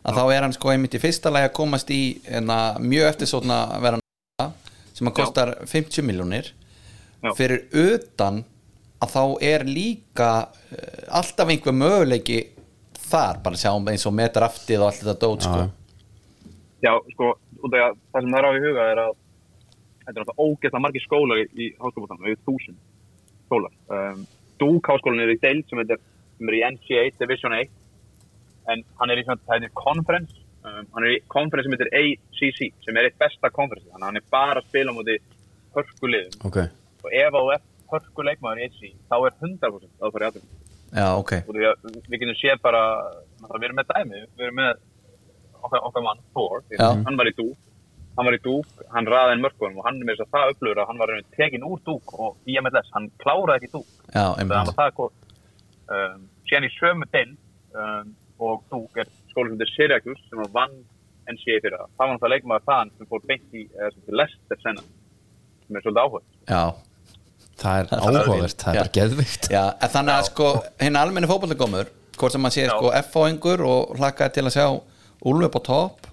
S3: að þá er hann sko einmitt í fyrsta lagi að komast í hérna, mjög eftirsóna verðan sem að kostar 50 miljónir
S5: Já.
S3: fyrir utan að þá er líka eh, alltaf einhver möguleiki þar bara sjáum eins og metraftið og allt þetta dót sko.
S5: já, sko, út af að það sem það er á í huga er að þetta er náttúrulega ógeðslega margir skólar í, í háskólabotanum, yfir þúsund skólar um, Dúk háskólan er í deild sem, heitir, sem er í NCAA Division 1 en hann er í svona, það heitir conference um, hann er í conference sem heitir ACC sem er eitt besta conference, þannig að hann er bara að spila á móti hörkuliðum
S2: ok,
S5: og ef þú ert hörkuleikmaður í ACC þá er 100% að þú fara í aðeins
S3: já, ok
S5: og því að við getum séð bara náttúrulega, við erum með dæmi, við erum með okkar, okkar mann, Thor, því að
S3: Já.
S5: hann var í dúk hann var í dúk, hann raði inn mörkunum og hann er með þess að það upplöfur að hann var raunin tekin úr dúk og í MLS, hann kláraði ekki dúk
S3: já,
S5: þannig að hann
S3: einmitt
S5: var það góð um, síðan í sömu del um, og dúk er skóli sem þetta er Syracuse sem var vann NCAA fyrir það það var náttúrulega leikmaður þaðan sem fór beint í eða sem til Lester senna sem er svolítið áhugað
S3: já,
S2: það er áhugavert það
S3: Já.
S2: er bara geðvikt
S3: Já, en þannig að sko hinn almenni fótbollegómur hvort sem maður sé
S5: Já.
S3: sko F-fóingur og hlakkaði til að sjá Úlf upp á topp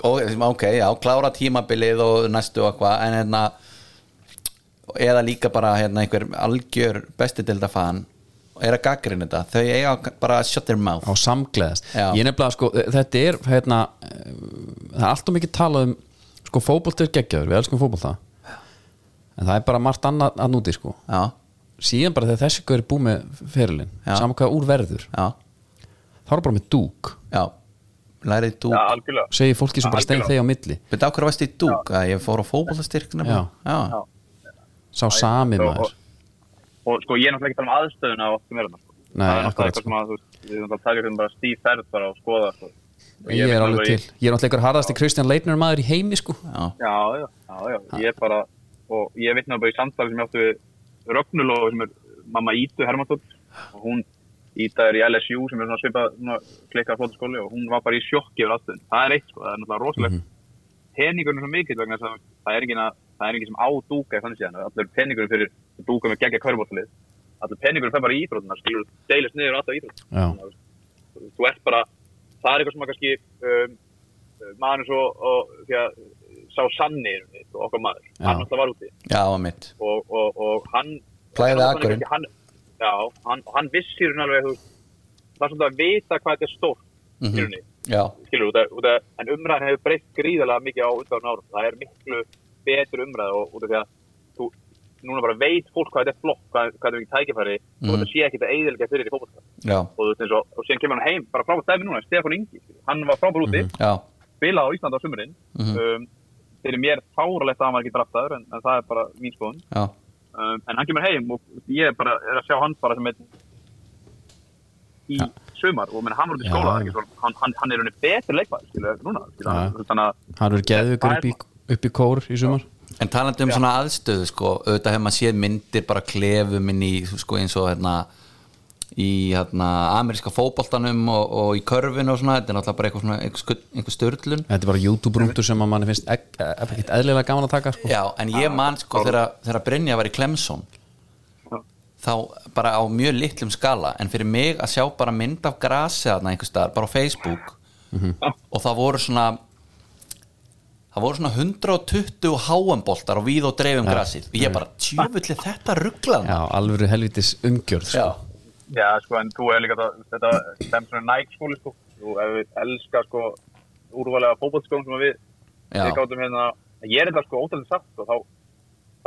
S3: og ok, já, klára tímabilið og næstu og eitthvað en hérna eða líka bara hérna einhver algjör besti fan er að gaggrinn þetta, þau eiga bara að shut their mouth
S2: á samgleðast
S3: Já.
S2: ég nefnilega sko, þetta er hérna, eh, það er alltaf mikið talað um sko fótbolt er geggjaður, við elskum fótbolt það en það er bara margt annað að núti sko,
S3: Já,
S2: síðan bara þegar þessi gaur er búið með ferilinn,
S3: Já.
S2: saman hvað úr verður
S3: já,
S2: þá er bara með dúk,
S3: já lærið dúk
S5: ja,
S3: ja.
S5: algjörlega
S2: segir fólki sem bara stein þegi
S5: Algjörlega.
S2: á milli,
S3: Veit á hverju varst í dúk að ég fór á fótbollastyrkna
S2: Já.
S3: já,
S5: Já.
S2: sá sami
S5: og-
S2: maður
S5: og sko ég er náttúrulega ekki að tala um aðstöðuna á okkur meira sko.
S2: Nei,
S5: það
S2: akkurat,
S5: er náttúrulega eitthvað sem að þú veist, við erum náttúrulega að taka um bara stíf ferð bara og skoða sko. Og
S2: ég
S5: veit
S2: er
S5: alveg
S2: alveg til, ég er náttúrulega ykkur harðasti Kristján Leitner maður í heimi sko
S3: já,
S5: já, já, já, já, ég er bara og ég veit náttúrulega bara í samtali sem ég átti við Rögnulóð sem er mamma Ítu Hermantótt og hún Íta er í LSU sem er svona svipa svona klikkað flóta skóli og hún var bara í sjokki yfir aðstöðun, það er eitt sko, það er náttúrulega rosalegt mm er svo mikill vegna þess að það er enginn að- það er enginn sem á dúka í þannig síðan allir peningurinn fyrir að dúka með gegja kvörbóttalið allir peningurinn fer bara í íþrótuna skilur deilist niður alltaf íþrótuna
S2: já,
S5: þú ert bara það er eitthvað sem að kannski um, maður svo og, því að sá sanni og okkar maður,
S2: Já.
S5: hann alltaf var úti
S3: já, mitt
S5: og, og, og hann
S3: Klæði
S5: hann-
S3: akurinn.
S5: hann, já, hann, og hann vissir hún alveg þú veist, það er svona að vita hvað þetta er stórt mm
S3: Mhm.
S5: -hmm.
S3: já,
S5: skilur út af, út af, en umræðan hefur breytt gríðarlega mikið á undan árum það er miklu betur umræð og út af því að þú núna bara veit fólk hvað þetta er flott, hvað, hvað þetta er mikið tækifæri og þetta sé ekki þetta eiginlega fyrir í fólkvallta
S3: já,
S5: og, þú veist, eins og, og síðan kemur hann heim, bara frábært dæmi núna Stefán Ingi, hann var frábært úti
S3: já,
S5: spilað á Íslandi á sumurinn um, fyrir mér fáralegt að hann var ekki draftaður en, en það er bara mín skoðun
S3: já
S5: um, en hann kemur heim og ég er bara er að sjá hann bara sem einn í sumar og menn, hann var út í
S2: Já.
S5: skóla það er ekki svo- hann, hann, hann er henni betur leikmaður skilur núna skilur,
S2: Já.
S5: hann, þannig að
S2: Hann verður geðvökur upp, í- upp í kór í sumar
S3: En talandi um svona aðstöðu sko, auðvitað hefur maður séð myndir bara klefum inn í sko eins og hérna í hérna ameríska fótboltanum og, og í körfinu og svona, þetta er náttúrulega bara eitthvað svona einhver, skull- einhver störlun.
S2: Þetta er bara YouTube-rúndur sem að mann finnst ek- e- ekkert eðlilega gaman að taka sko.
S3: Já, en ég man sko þegar, þegar Brynja var í Clemson þá bara á mjög litlum skala en fyrir mig að sjá bara mynd af grasi þarna einhvers staðar, bara á Facebook
S2: Mhm.
S3: og það voru svona það voru svona 120 háamboltar og við og dreifum
S2: Já.
S3: grasið og ég bara, tjöfulli þetta rugglan
S2: Já, alvöru helvitis umgjörð sko.
S3: Já,
S5: Já, sko, en þú er líka það, þetta sem svona Nike skóli, sko, þú ef við elskar, sko, úrvalega fótbollskóðum sem við,
S3: Já.
S5: við gáttum hérna, ég er þetta, sko, ótrúlega satt, og þá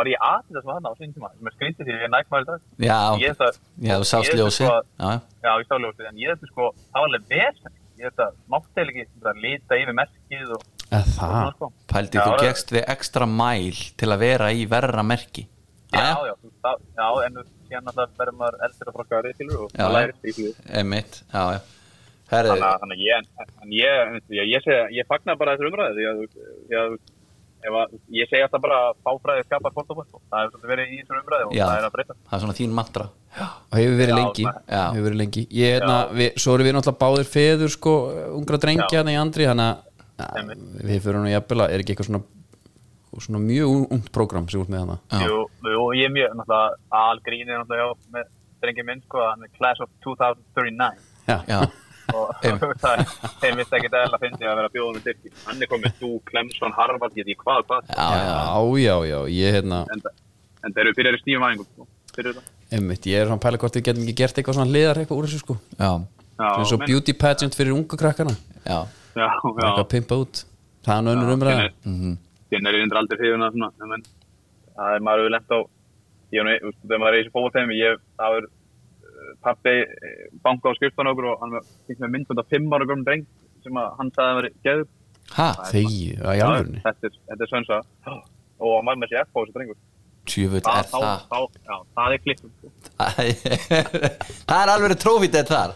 S5: var ég aðeins sem þarna á sinni tíma, sem er skrítið því að ég er Nike maður í dag.
S3: já,
S5: Ég þetta-
S3: já þú sást
S5: ég þetta,
S3: ljósi já,
S5: sko, að-
S3: já.
S5: Já, ég sá ljósið, en ég þetta, sko, það var alveg vesen, ég þetta, mátti ekki, þetta, lita yfir merkið og,
S2: Eða
S3: Ah.
S5: og
S2: það
S5: sko.
S3: Pældi,
S5: Já,
S3: þú
S5: það-
S3: gegst við ekstra mæl til að vera í verra merki
S5: Já,
S3: Jæja,
S5: já, þú- það- já, en þú- síðan alltaf verður maður eldri og frokkari, skilur, og
S3: Já, Eh.
S5: það
S3: já.
S5: lærir því, skilur.
S3: einmitt Já, já, herri
S5: þannig að- þannig að ég, en ég, veistu, ég, ég, seg, ég fagna bara þessar umræði því að, þú- því að þú- ef að, ég segi alltaf bara að fáfræði skapar fórtofan það hefur svolítið verið í þessar umræði og
S3: Já.
S5: það er að breyta
S3: Það er svona þín mantra
S2: og hefur verið
S5: Já,
S2: lengi,
S3: já.
S2: hefur verið lengi. Ég, hérna, við, Svo erum við náttúrulega báðir feður sko, ungra drengja þannig í andri þannig að að við fyrir nú jafnvel að er ekki eitthvað svona, svona mjög ungt prógram sem út með hana
S3: Já.
S5: Jú, jú, og ég er mjög, náttúrulega, algrín er náttúrulega hjá með drengi minn, sko, hann er class of 2039
S2: Já,
S3: Já,
S5: og það er, þeim vist ekki eðla að fyndi að vera bjóðum í styrki hann er komið, þú, Clemson, Harvard, ég veit ekki hvað, hvað
S3: já, já, já.
S2: já, já, já ég, hérna,
S5: en, en þeir eru byrjar í stífum æfingum sko, fyrir þetta.
S2: einmitt, ég er svona að pæla hvort við getum ekki gert eitthvað svona hliðar eitthvað úr þessu sko
S3: já.
S5: Já,
S2: sem svo
S5: menn-
S2: beauty pageant fyrir unga krakkana
S3: já.
S5: já, já.
S2: eitthvað að pimpa út það er nú önnur umræða
S3: Mhm.
S5: Sérna er ég endur aldrei hrifin að svona, en menn, það er maður hefur lent á, ég er nú, þú veist, þegar maður er í þessu fókvóðteimi, ég, það er eh, pabbi eh, banka á skriftan okkur og hann finnst með myndbönd af fimm ára gömum dreng sem að hann sagði að veri geður.
S3: Ha,
S2: þegi, að í alvörni
S5: Þetta er, þetta er sönsa. Og hann var með sér F á þessu drengur.
S3: tjöfull
S5: Það,
S3: er
S5: þá,
S3: það
S5: þá, já, það er klippum. sko.
S3: Það er alveg trófítið þar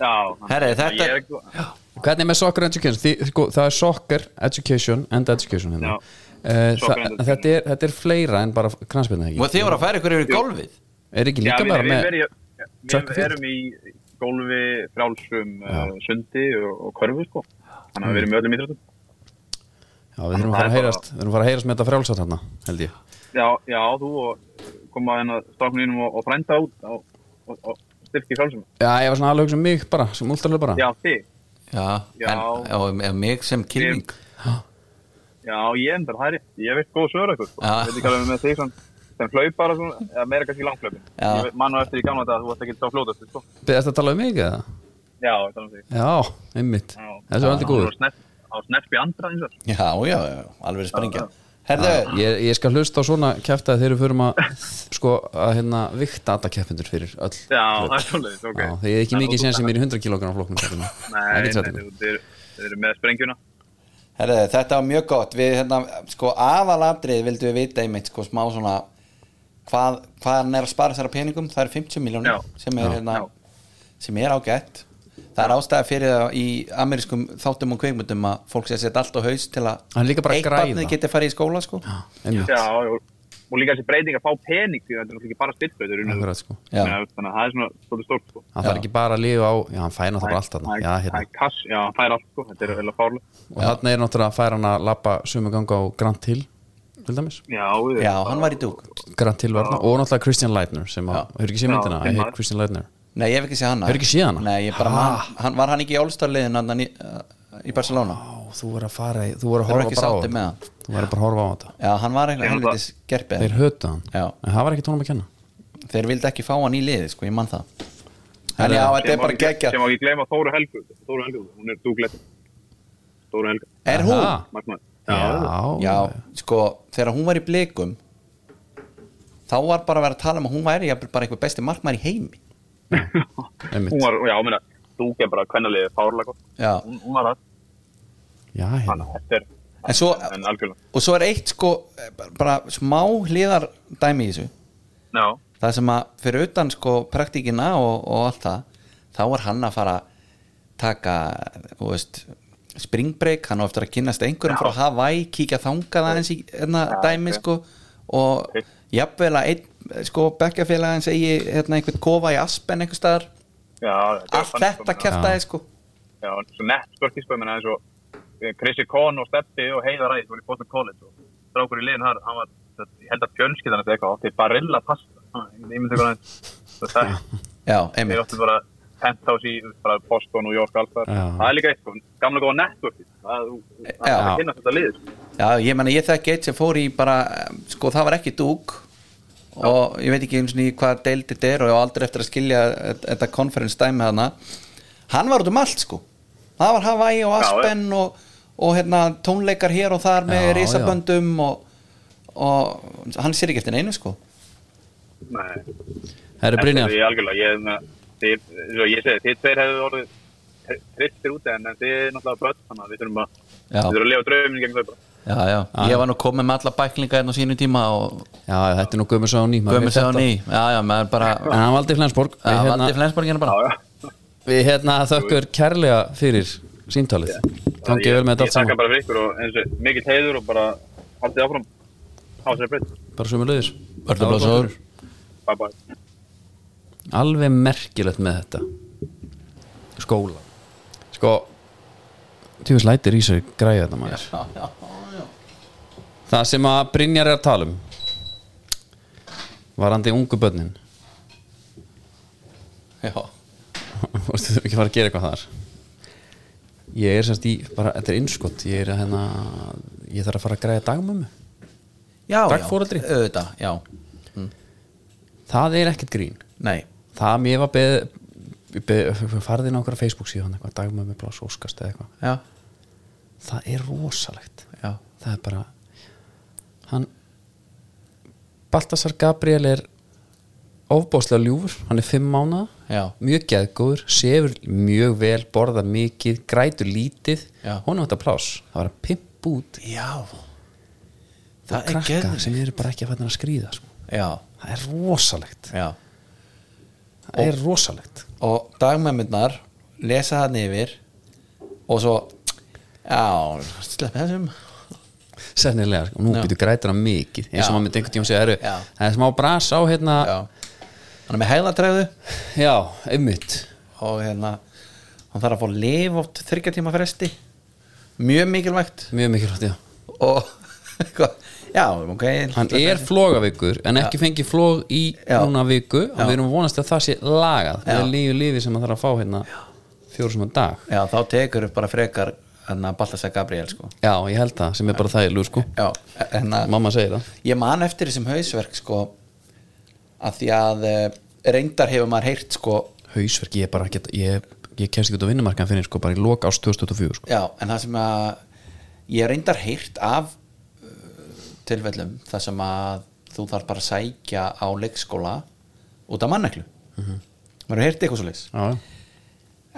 S5: Já.
S3: Herri,
S5: þannig að
S3: þetta-
S5: ég er ekki-
S2: hvernig er með soccer education Þi, sko, það er soccer education and education hérna.
S5: Já.
S2: uh,
S5: Soccer
S2: það,
S5: and education.
S2: þetta, er, þetta er fleira en bara kransbyrna
S3: Og þið voru að færa ykkur yfir í golfið
S2: er ekki
S5: Já,
S2: líka
S5: við,
S2: bara
S5: við,
S2: með
S5: við, við,
S3: E.
S2: track and
S5: við
S2: field?
S5: erum í gólfi, frálsum, uh, sundi og, og körfu, sko. Þannig
S3: Mm.
S5: að við erum í öllum íþróttum.
S2: já, við þurfum að fara að
S5: Það er bara-
S2: heyrast við þurfum að fara að heyrast með þetta frjálsat hérna held ég
S5: Já, já, þú og koma hérna stofnunum og, og frænda út og, og, og styrki frálsum.
S2: já, ég var svona alveg sem mig bara sem últarlega bara
S5: Já, þig.
S3: Já,
S5: Já.
S3: en og, og mig sem kynning
S5: Já, ég endar, það er rétt. Ég veit góð sögur eitthvað, sko.
S3: Já.
S5: Ég veit ekki alveg með þig sem, sem hlaupar og svona, eða meira kannski langhlaupin.
S3: Já.
S5: Ég mann og eftir í gamla þetta að þú varst ekki sá fljótast, sko.
S2: beðast að tala um mig eða?
S5: Já, það er þig.
S2: já, einmitt, þessu er aldrei góður
S5: Á snerpi andra eins og.
S3: Já, já, já, alveg springja
S2: Já,
S3: Herðu,
S2: ég, ég skal hlusta á svona kæfta þegar við förum að sko að hérna vikta alla kæfendur fyrir öll
S5: Já,
S2: hlaup.
S5: það er svolítið, ok.
S2: Já, það er ekki
S5: En
S2: mikið
S5: þú-
S2: sem sem er í 100 kilogram flokkum hérna.
S5: Nei,
S2: Ekki
S5: nei,
S2: sætinu.
S5: þú- þeir þeir eru með sprengjuna.
S3: herðu, þetta var mjög gott Við, hérna, sko, aðalatrið vildum við vita einmitt, sko, smá svona hvað, hvað hann er að spara þessara peningum það er 50
S5: Já.
S3: miljónir sem er, hérna,
S5: Já.
S3: sem er ágætt það er ástæða fyrir það í amerískum þáttum og kveikmundum að fólk sé að setja allt á haus til að
S2: Hann er líka bara að
S3: eitt
S2: græða.
S3: barnið geti farið í skóla sko. já,
S2: Einmitt,
S5: Já, og, og líka þessi breyting að fá pening, því að þetta er náttúrulega ekki bara styrkveitur.
S2: akkurat, sko.
S3: Já.
S5: Þannig að það er svona svolítið stórt, sko.
S2: hann þarf ekki bara að lifa á já, hann fæna það bara allt þarna
S5: Það er-
S2: já, hérna.
S5: það er kass, já, hann fær allt sko, þetta er heila fárlega
S2: og þarna er náttúrulega að færa hann að lappa sömu ganga á Grant Hill til dæmis
S5: já,
S3: hann var í dúk
S2: Grant Hill var þarna og náttúrulega Christian Leitner sem að, hefur ekki séð myndina,
S5: Já,
S2: I
S5: fimm
S2: hate
S5: maður.
S2: Christian Leitner
S3: Nei, ég hef ekki séð hana
S2: Hefurðu ekki séð hana?
S3: Nei, ég bara,
S2: Ha?
S3: man, hann, var hann ekki í All-Star-liðin í, í Barcelona?
S2: Ó, þú er að fara í, þú er að
S3: Þeir eru
S2: horfa
S3: ekki
S2: bara á
S3: sáttir með hann.
S2: þetta Þú er bara að horfa á þetta
S3: Já, hann var
S5: Ég
S3: eitthvað
S5: held
S3: helviti skerpið
S2: Þeir höta hann,
S3: Já.
S2: en það var ekki tónum að kenna
S3: Þeir vildi ekki fá hann í liði, sko, ég man það En já, þetta er bara geggjað
S5: sem á ekki gleyma Þóru Helgu Þóru Helgu, hún er dúglett Þóru Helga,
S3: Er hún? Ah.
S2: Aha.
S5: markmann
S2: Já,
S3: Já, sko, þegar hún var í blikum þá var bara að vera að tala um að hún væri jafnvel bara einhver besti markmaður í heimi
S2: einmitt.
S5: hún var, já, meina, þú ger bara kvennalið fárlega gott,
S3: Já,
S5: hún, hún var það
S2: Já,
S5: hann,
S2: hérna
S5: þetta er,
S3: en svo
S5: en algjörlega
S3: og svo er eitt sko, bara smá hliðar dæmi í þessu
S5: já,
S3: það sem að fyrir utan sko praktíkina og, og allt það þá er hann að fara taka, þú veist springbreak, hann á eftir að kynnast einhverjum frá Hawaii, kíkja þangað aðeins í hérna, dæmi
S5: ok.
S3: sko og
S5: Ok.
S3: jafnvel að einn sko bekkjafélagin segi hérna, einhvern kofa í Aspen einhver staðar
S5: já
S3: allt þetta kæftaði sko
S5: já, hann er svo nett sko, spörkisbæð menn aðeins og eh, Chrissy Kohn og Steppi og Heiðar Ræð voru í Boston College og strákur í liðin þar, hann var þetta- ég held að fjönskiðan eftir eitthvað átti barilla pasta, Hann- ég myndi hvað hann það,
S3: já,
S5: þeir
S3: einmitt,
S5: áttu bara penthouse í bara Boston, New York, allt það
S2: Já.
S5: það er líka eitt, sko, gamla góða networki það þú- það
S3: Já.
S5: er að kynna þetta sko. liður
S3: já, ég menna ég þekki eitt sem fór í bara, sko það var ekki dúk og ég veit ekki eins og hvað deild þetta er og ég á aldrei eftir að skilja þetta konferens dæmi hana hann var út um allt sko það var Hawaii og
S5: Já,
S3: Aspen og, og hérna, tónleikar hér og þar með
S2: Já, já.
S3: risaböndum og, og hann sér ekki eftir neinu sko
S5: nei
S2: Herri Brynjar,
S5: Ég algjörlega, ég, na, þið, svo ég segi, þið tveir hefðu orðið tristir úti en en þið er náttúrulega börn þannig að við þurfum að,
S3: Já.
S5: við þurfum að lifa drauminu gegn þau bara.
S3: já, já, ég var nú komið með alla bæklinga hérna á sínu tíma og
S2: já, þetta er nú gömur sá ný
S3: gömur sér á ný já, já, maður bara,
S2: En hann valdi Flensborg Við,
S3: já,
S2: hérna,
S3: valdi flensborgina bara
S5: Já, já.
S2: við hérna þökkur kærlega fyrir símtalið Gangi vel með þetta
S5: Ég
S2: allt
S5: þakka
S2: saman
S5: bara fyrir ykkur og eins og mikill heiður og bara haldið áfram á sér breytt.
S2: Bara sömu leiðis
S3: Örnum blásur.
S5: Bye bye.
S2: Alveg merkilegt með þetta Skóla Sko Tjóðis lætir í sig græja þetta maður
S3: já, já,
S2: Það sem að Brynjar er að tala um Varandi ungu börnin
S3: já.
S2: Þú veist, þau ekki fara að gera eitthvað þar Ég er semst í bara, Þetta er innskott Ég er að hérna Ég þarf að fara að græja dagmömmu
S3: já, já,
S2: Dagforeldri.
S3: auðvitað, já,
S2: Það er ekkert grín
S3: nei
S2: Það mér var beð, beð Farðin á okkur Facebook síðan eitthvað Dagmömmu blás óskast eða eitthvað
S3: já,
S2: Það er rosalegt
S3: já,
S2: Það er bara Hann Baltasar Gabriel er ofbóðslega ljúfur, hann er fimm mánuða
S3: já,
S2: mjög geðgóður, sefur mjög vel borðar mikið, grætur lítið
S3: Já.
S2: honum þetta pláss, það var að pimp út
S3: já.
S2: og
S3: það er
S2: krakka
S3: geðvikt
S2: sem eru bara ekki að fæta að skrýða sko.
S3: já,
S2: það er rosalegt
S3: já.
S2: það er rosalegt
S3: og dagmæmyndnar lesa það yfir og svo já, slepp um. þessum
S2: sennilega, sko. nú
S3: Já.
S2: getur grætur hann mikið eins
S3: Já.
S2: og maður myndi einhvern tíma segja, "Herru,
S3: Já.
S2: það er smá bras á hérna,
S3: já, hann er með hægðatræðu
S2: já, einmitt
S3: og hérna hann þarf að fá lif oft þryggja tíma fresti mjög mikilvægt
S2: mjög mikilvægt, já
S3: og eitthvað, já, ok
S2: hann er flogaveikur, en ekki fengið flog í
S3: Já.
S2: núna viku, og
S3: Já.
S2: við erum vonast að það sé lagað,
S3: Já.
S2: það er lífi lífi sem maður þarf að fá hérna fjóru sem að dag
S3: já, þá tekur upp bara frekar hérna Baltasar Gabriel sko
S2: já, ég held það, sem er bara þægilegu sko
S3: já, hérna
S2: Mamma segir það
S3: ég man eftir þessum hausverk sko að því að eh, reyndar hefur maður heyrt sko
S2: Hausverk, ég er bara ekki Ég, ég kemst ekki út á vinnumarkan fyrir sko, bara í lok ást 2024 sko.
S3: já, en það sem að ég hef reyndar heyrt af uh, tilfellum það sem að þú þarf bara að sækja á leikskóla út af manneklu mm -hmm. maður hefur heyrt eitthvað svo leis
S2: Já,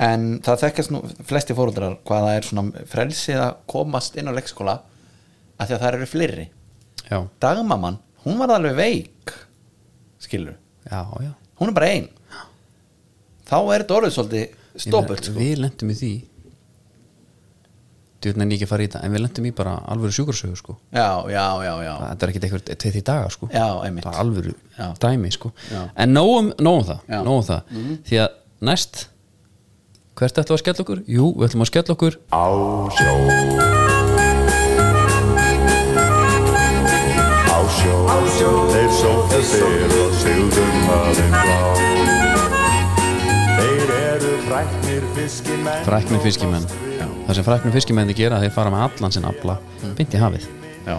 S3: en það þekkast nú flesti fóruldrar hvað það er svona frelsið að komast inn á leikskóla að því að það eru fleiri
S2: já,
S3: dagmaman, hún var alveg veik skilur
S2: já, já.
S3: hún er bara ein þá er þetta orðið svolítið
S2: Ég meina,
S3: stoppult sko.
S2: Við lendum í því Þú veit nefnir ekki að fara í þetta En við lendum í bara alvöru sjúkursögu sko.
S3: já, já, já, já
S2: Þetta er ekkit eitthvað tveið í daga sko.
S3: já, einmitt
S2: Það er alvöru
S3: Já.
S2: dæmi sko.
S3: Já.
S2: En nógum, nógum það,
S3: Já. Mhm.
S2: nógum það. Því að næst Hvert ætlum við að skella okkur? Jú, við ætlum að skella okkur
S1: Á sjó Á sjó Þeir sóttu sér og sigðum hafinn blá Fræknir fiskimenn
S2: Fræknir fiskimenn Það sem fræknir fiskimenni gera þeir fara með allan sinn afla
S3: Mhm.
S2: Beint í hafið
S3: Já,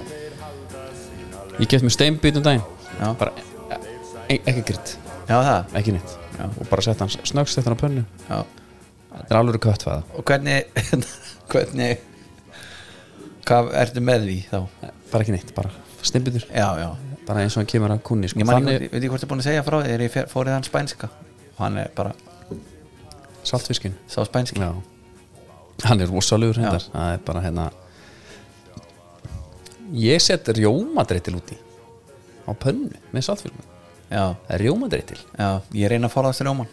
S2: Ég gett mér steinbít um daginn
S3: Já.
S2: Bara e e ekki gritt,
S3: já það
S2: ekki nýtt Og bara sett hann snöggst eftir á pönnu
S3: já.
S2: Þetta er alveg köttfæða
S3: Og hvernig Hvernig Hvað ertu með því þá?
S2: Bara ekki nýtt, bara steinbítur
S3: Já, já
S2: Bara eins og hann kemur að kunni sko.
S3: Ég man ekki,
S2: Þannig
S3: hvort- veit ég hvort ég er búin að segja frá því Þegar ég fer- fór í þann spænska Og hann er bara
S2: saltfiskin
S3: sá spænski
S2: Já Hann er rosalugur hendar Það er bara hérna Ég set rjómadreitil úti Á pönnu með saltfiskin
S3: Já,
S2: Það er rjómadreitil
S3: já Ég reyna að forðast rjóman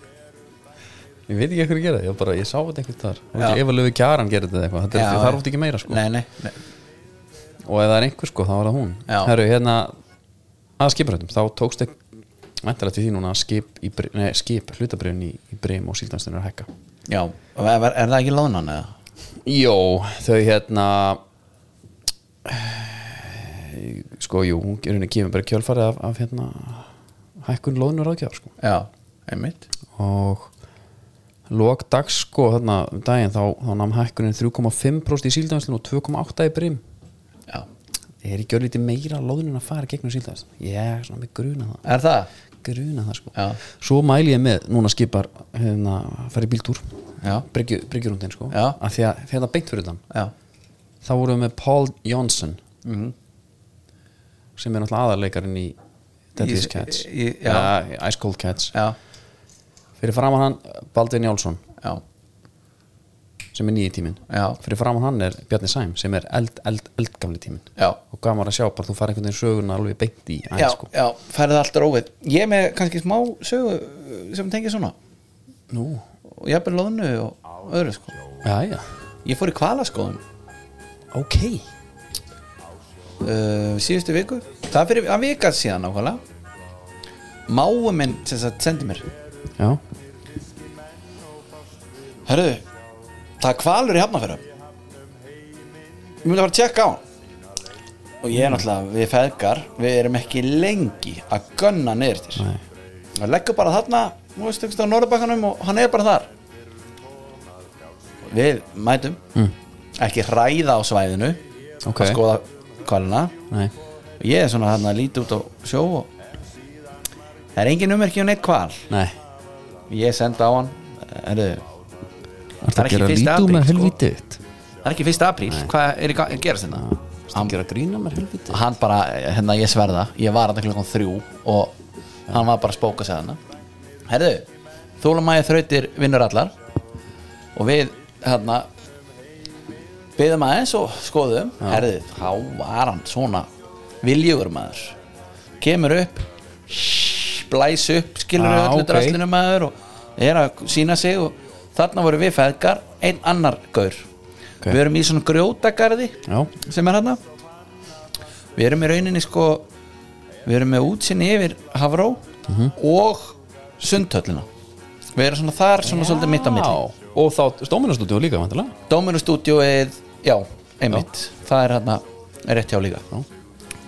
S2: Ég veit ekki eitthvað að gera það, ég, bara, ég sá þetta eitthvað þar Og
S3: Já.
S2: ekki Ef að löfu kjaran gerði þetta eitthvað Þetta
S3: Já,
S2: er- Það
S3: já.
S2: er út ekki meira sko
S3: Nei, nei, nei
S2: Og ef það er einhver sko, þá er það hún
S3: Já.
S2: Herru, hérna Að skipurhættum, þá tókst ekki Væntalega til því núna að skip, í, Bri- nei, skip hlutabriðun í, í breym og síldanstunir að hækka
S3: Já, og er, er það ekki lánan eða?
S2: Jó, þau hérna sko, jú, hún er henni kemur bara kjölfarið af, af hérna hækkun lóðnur ráðgjafar sko.
S3: Já, einmitt
S2: og lok dags sko, þarna um daginn þá, þá nam hækkunin 3,5% í síldavinslun og 2,8% í brim
S3: Já
S2: það er ekki örlítið meira lóðnun að fara gegnum síldavinslun ég er svona með gruna það
S3: Er það?
S2: gruna það sko
S3: Já.
S2: svo mæli ég með núna skipar hérna, fara í bíltúr
S3: Já.
S2: Bryggju- bryggjurúndin sko
S3: Já.
S2: að því að þetta beint fyrir þann
S3: Já,
S2: þá vorum við með Paul Johnson
S3: Mhm.
S2: sem er náttúrulega aðarleikarinn í Deadliest
S3: Í-
S2: Cats
S3: í- já.
S2: Eða Ice Cold Cats
S3: já,
S2: fyrir framan hann Baldvin Jálsson
S3: já,
S2: sem er nýji tíminn
S3: Já.
S2: fyrir framan hann er Bjarni Sæm sem er eld, eld, eldgamli tíminn
S3: já
S2: og gaman að sjá bara þú farið einhvern veginn söguna alveg beint í
S3: Já,
S2: aðeins sko
S3: já, færið allt róið Ég er með kannski smá sögu uh, sem tengið svona
S2: Nú,
S3: og ég er bara loðnu og öðru sko
S2: já, já,
S3: Ég fór í kvalaskoðun
S2: ok
S3: uh, síðustu viku Það er fyrir að vika síðan ákvæðlega Máu minn sem sagt sendi mér
S2: Já,
S3: Herðu, það er kvalur í hafnafæra Ég myndi að fara að tjekka á hann Og
S2: Mm.
S3: ég er náttúrulega, við feðgar Við erum ekki lengi að gunna niður til
S2: nei,
S3: hann leggur bara þarna þú veist, einhvers staðar á norðabakkanum og hann er bara þar við mætum mm. ekki hræða á svæðinu
S2: Ok.
S3: að skoða kvalina
S2: nei
S3: og ég er svona þarna að líti út á sjó og það er engin ummerki og neitt kval
S2: Nei,
S3: ég sendi á hann Heru,
S2: það er
S3: ekki
S2: ekki að lítu
S3: fyrsta apríl,
S2: með
S3: sko.
S2: helvítið þitt
S3: það er ekki fyrsta apríl hvað er í ga- hérna? að gera sinna
S2: Það er að grína með helvítið
S3: hann bara, hérna ég sverða ég var hann klukkan þrjú og hann var bara að spóka sig hann herðu, þólumæði þrautir vinnur allar og við hérna byggðum aðeins og skoðum herðu, þá var hann svona viljugur maður kemur upp blæs upp, skilur
S2: Ah,
S3: öllu
S2: ok.
S3: okay. draslinu maður og er að sína sig og þarna voru við feðgar einn annar gaur
S2: Ok.
S3: við erum í svona grjótagarði
S2: Já,
S3: sem er hann við erum í rauninni sko við erum með útsinni yfir Hafró
S2: Mhm.
S3: og Sundhöllina við erum svona þar svona svolítið mitt á milli
S2: Já, og þá stóminastúdíu líka vantilega
S3: Dóminustúdíóið, já, einmitt það er hann rétt hjá líka
S2: Já.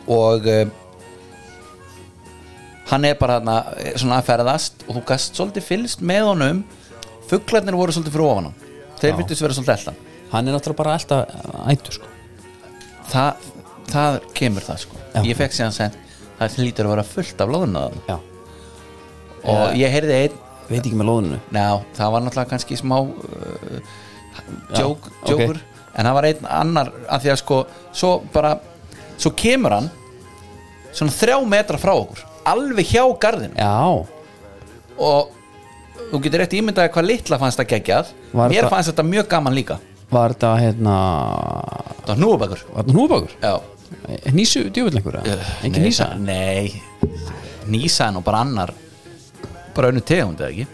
S3: og um, hann er bara hann svona að ferðast og þú gast svolítið fylgst með honum fuglarnir voru svolítið frá ofan hann þeir
S2: Já.
S3: virtust vera svolítið eldan
S2: hann er náttúrulega bara alltaf ættu sko
S3: Þa, það kemur það sko
S2: Já.
S3: ég fekk síðan sent það hlýtur að vera fullt af loðunaðan
S2: já.
S3: og ég heyrði einn
S2: veit ekki með lóðinu
S3: Ná, það var náttúrulega kannski smá uh, joke,
S2: ok.
S3: joker en það var einn annar að því að sko svo bara, svo kemur hann svona þrjá metra frá okkur alveg hjá garðinu
S2: já,
S3: og þú getur rétt ímyndaði hvað litla fannst það geggjað
S2: Var
S3: mér
S2: þetta-
S3: fannst þetta mjög gaman líka
S2: var þetta hérna
S3: það var núbakur
S2: var þetta núbakur?
S3: já
S2: nýsu djúvill einhverja?
S3: Eh, Nei,
S2: engin nýsa?
S3: það- Nei, nýsa er nú bara annar bara önnu tegund eða ekki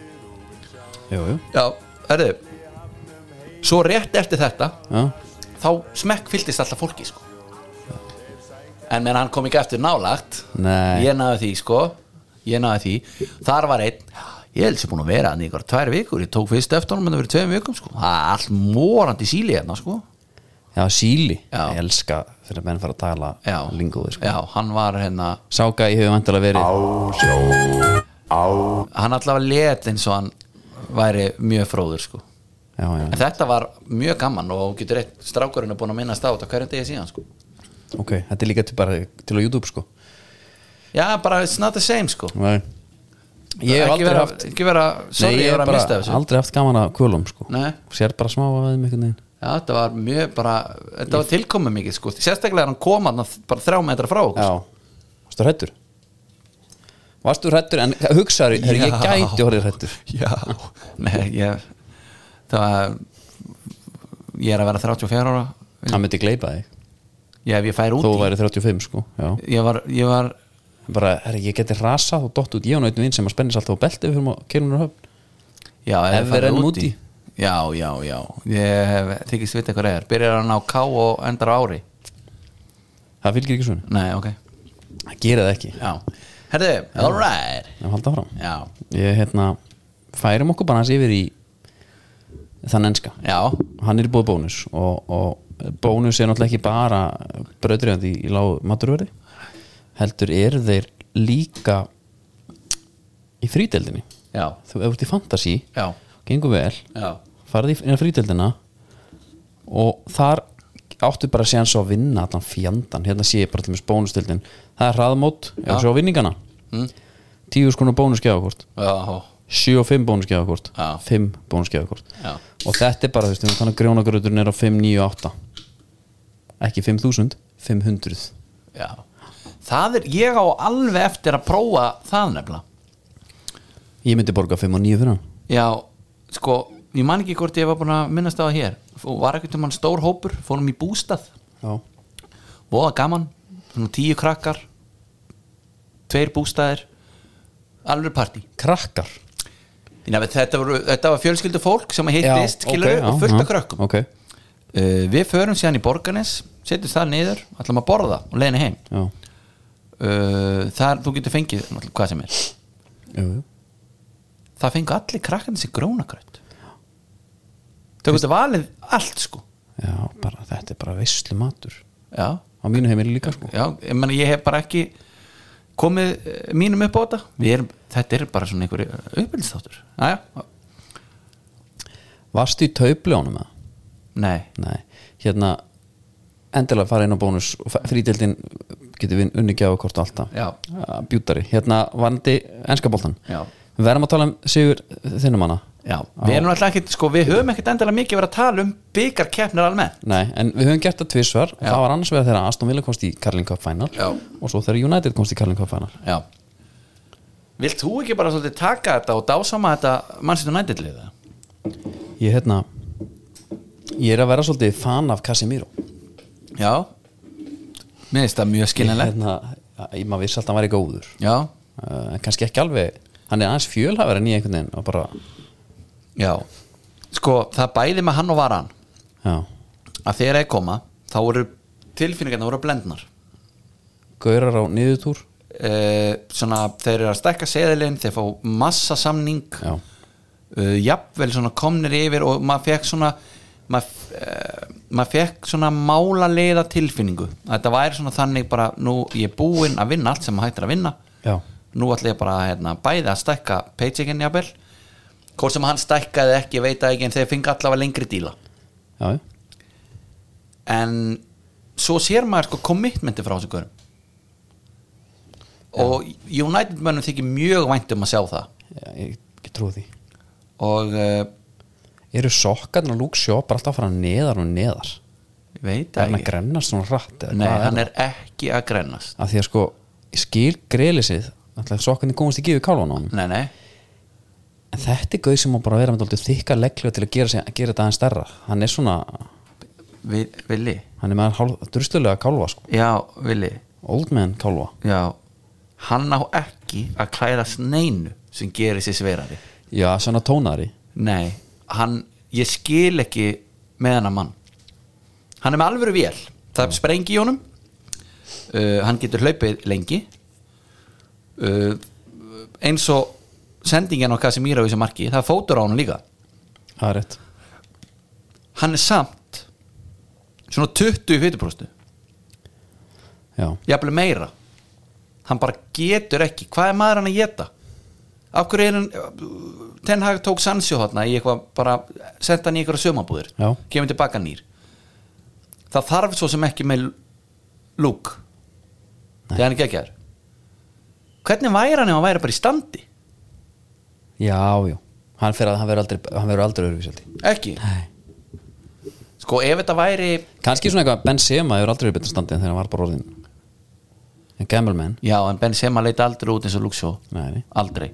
S2: jú, jú
S3: Já, herðu Svo rétt eftir þetta
S2: já.
S3: þá smekk fylltist alltaf fólki sko. en menn hann kom ekki eftir nálagt
S2: Nei.
S3: ég náði því sko ég náði því, þar var einn ég held sem búin að vera hann í ykkur tvær vikur ég tók fyrst eftir honum en það verið tveim vikum sko. það er allt morandi síli hérna sko.
S2: já, síli
S3: Já.
S2: ég elska þegar menn fara að tala
S3: já.
S2: lingóði sko
S3: já, hann var hérna
S2: sáka ég hefur vantilega verið
S1: Á sjó Á
S3: hann allavega let eins og hann væri mjög fróður sko
S2: já, já,
S3: en þetta var mjög gaman og getur eitt strákurinn er búin að minnast á þetta hverjum degi síðan sko
S2: ok, þetta er líka til, bara, til á YouTube sko
S3: já bara it's not the same sko
S2: Nei. Ég hef
S3: Ekki
S2: aldrei
S3: vera-
S2: haft
S3: ekki vera, sorry,
S2: Nei,
S3: ég
S2: ég
S3: var
S2: hef
S3: að mista
S2: bara
S3: þessu
S2: aldrei haft gaman að kvölum sko
S3: Nei.
S2: Sér bara smá að þeim einhvern veginn
S3: Já, þetta var mjög bara, þetta var tilkomið mikið sko, sérstaklega er hann komað bara þrjá metra frá okkur, sko.
S2: Já, varstu hrættur? Varstu hrættur en hugsaður Þegar ég
S3: Já.
S2: gæti orðið hrættur
S3: Já, nei, ég það var ég er að vera 34 ára
S2: Hann myndi gleypa þig,
S3: ég, ef ég fær út
S2: þó
S3: í,
S2: væri 35 sko Já.
S3: ég var, ég var
S2: Bara, herri, ég geti rasað og dott út Ég og náttúrulega vinn sem að spennist alltaf á belti Við fyrir að keirunur höfn
S3: já,
S2: Ef
S3: ég
S2: við
S3: færi
S2: rennum út í.
S3: Já, já, já, ég hef þykist vita hvað það er, byrjar hann á K og endar á ári,
S2: Það fylgir ekki svona,
S3: nei, ok
S2: það gerir það ekki
S3: Já, herðu, all right
S2: Ef halda áfram
S3: Já,
S2: Ég hérna, færum okkur bara hans yfir í Þann enska
S3: já,
S2: Hann er í búið bónus og, og bónus er náttúrulega ekki bara bröðriðandi í lágu maturverði heldur eru þeir líka í frídeldinni
S3: já,
S2: þú ert í fantasi
S3: já,
S2: gengur vel,
S3: já
S2: farði inn á frídeldina og þar áttu bara séðan svo að vinna allan fjandan, hérna sé ég bara til mér bónusteldin það er hraðmót, ef
S3: Já.
S2: svo á vinningana mm. tíu skona bónusgjáðakort
S3: Já,
S2: 7 og 5 bónusgjáðakort
S3: Já.
S2: 5 bónusgjáðakort
S3: Já.
S2: og þetta er bara, þú veist, við erum þannig að grjónagröðurinn er á 5, 9, 8 ekki 5000, 500
S3: Já, það er, ég á alveg eftir að prófa það nefnilega
S2: ég myndi borga 5 og 9 fyrir hann
S3: Já, sko, ég man ekki hvort ég var búin að minnast á það hér og var ekkert um hann stór hópur, fórum í bústað
S2: Já.
S3: voða gaman, svona tíu krakkar tveir bústaðir alveg partí
S2: krakkar
S3: Ég nefnir, þetta, voru, þetta var fjölskyldu fólk sem hittist, skilur
S2: ok, já,
S3: og fullt
S2: já,
S3: af krökkum
S2: ok,
S3: uh, Við förum síðan í Borganes setjum það niður, ætlum að borða og leiðin heim
S2: já,
S3: uh, þar þú getur fengið náttúrulega hvað sem er
S2: jú, jú.
S3: það fengu allir krakkarnir sér grónakraut þau getur valið allt sko
S2: já bara, þetta er bara veislu matur
S3: já,
S2: á mínu heimili líka sko
S3: já, ég, meni, ég hef bara ekki komið eh, mínum upp á þetta Við erum, þetta er bara svona einhverju uppbyrðisþáttur aðja,
S2: varstu í taupleónum eða?
S3: nei
S2: Nei, hérna endilega fara inn á bónus og fa- frídeildin getur við unni gjáðakort og alltaf
S3: Já.
S2: Ah, bjútari, hérna vandi enska boltan
S3: Já.
S2: við verðum að tala um sigur þinnum hana
S3: já, við erum alltaf ekkert, sko við höfum ekkert endilega mikið verið að tala um byggarkeppnir almennt
S2: Nei, en við höfum gert það tvisvar það var annars vegar þegar Aston Villa komst í Carling Cup Final
S3: Já.
S2: og svo þegar United komst í Carling Cup Final
S3: já Vilt þú ekki bara svolítið taka þetta og dásama þetta mannsitt og nættilliða?
S2: ég, hérna, ég er að vera svolítið fan af Casemiro
S3: Já Mér finnst það mjög
S2: ég,
S3: skiljanlegt
S2: hérna, ég, maður vissi alltaf að hann væri góður
S3: Já,
S2: uh, en kannski ekki alveg hann er aðeins fjölhafur en ég einhvern veginn og bara,
S3: Já, sko það bæði með hann og varan
S2: já,
S3: að þegar ég koma þá voru tilfinningarna voru blendnar
S2: gaurar á niðurtúr
S3: uh, svona þeir eru að stekka seðilinn þeir fá massa samning
S2: já,
S3: uh, jafnvel svona komnir yfir og maður fekk svona maður uh, mað fekk svona mála leiða tilfinningu að þetta væri svona þannig bara nú ég er búinn að vinna allt sem maður hættir að vinna
S2: já
S3: nú ætla ég bara að hérna, bæði að stekka paycheckinn jafnvel hvort sem hann stekkaði ekki, ég veit það ekki en þeir fengi allavega lengri díla
S2: Já, já.
S3: en svo sér maður sko commitmenti frá þessu görum og United mönnum þykir mjög vænt um að sjá það
S2: Já, ég ekki trúi því
S3: og uh,
S2: Eru sokkarnir og Luke Shaw bara alltaf að fara neðar og neðar
S3: ég veit
S2: Er hann
S3: það
S2: að
S3: ekki
S2: grennast svona rætt eða
S3: nei,
S2: hvað
S3: hann
S2: það?
S3: er ekki að grennast
S2: Af því að sko, ég skil greli sig Alltaf sokkarnir komast ekki yfir kálvan á hann
S3: nei, nei,
S2: En þetta er gauð sem má bara vera með dálítið þykka legglega til að gera, sig, gera þetta aðeins stærra Hann er svona,
S3: Vi, villi
S2: hann er með hálf, drustulega kálva sko
S3: já, villi,
S2: Old man kálva
S3: já hann á ekki að klæðast neinu sem gerir sér sverari
S2: Já, svona tónari
S3: nei, hann, ég skil ekki með hennar mann hann er með alvöru vél það er sprengi í honum uh, hann getur hlaupið lengi uh, eins og sendingin á Casimiro í þessu marki, það er fótur á honum líka
S2: Það er rétt
S3: hann er samt svona 20 fytuprostu
S2: Já,
S3: jafnvel meira hann bara getur ekki, hvað er maður hann að geta af hverju er hann Ten Hag tók Sancho hátna í eitthvað bara, senda hann í eitthvað sömabúðir
S2: Já.
S3: kemur tilbaka nýr það þarf svo sem ekki með lúk þegar hann er geggjaður hvernig væri hann ef hann væri bara í standi
S2: já, já hann, fer að, hann verður aldrei, hann verður aldrei öðruvísi held ég.
S3: ekki sko ef þetta væri
S2: kannski svona eitthvað Benzema hefur aldrei verið betur standið en þegar hann var bara orðin en gamble man
S3: já en Benzema leita aldrei út eins og lúksjó
S2: Nei.
S3: aldrei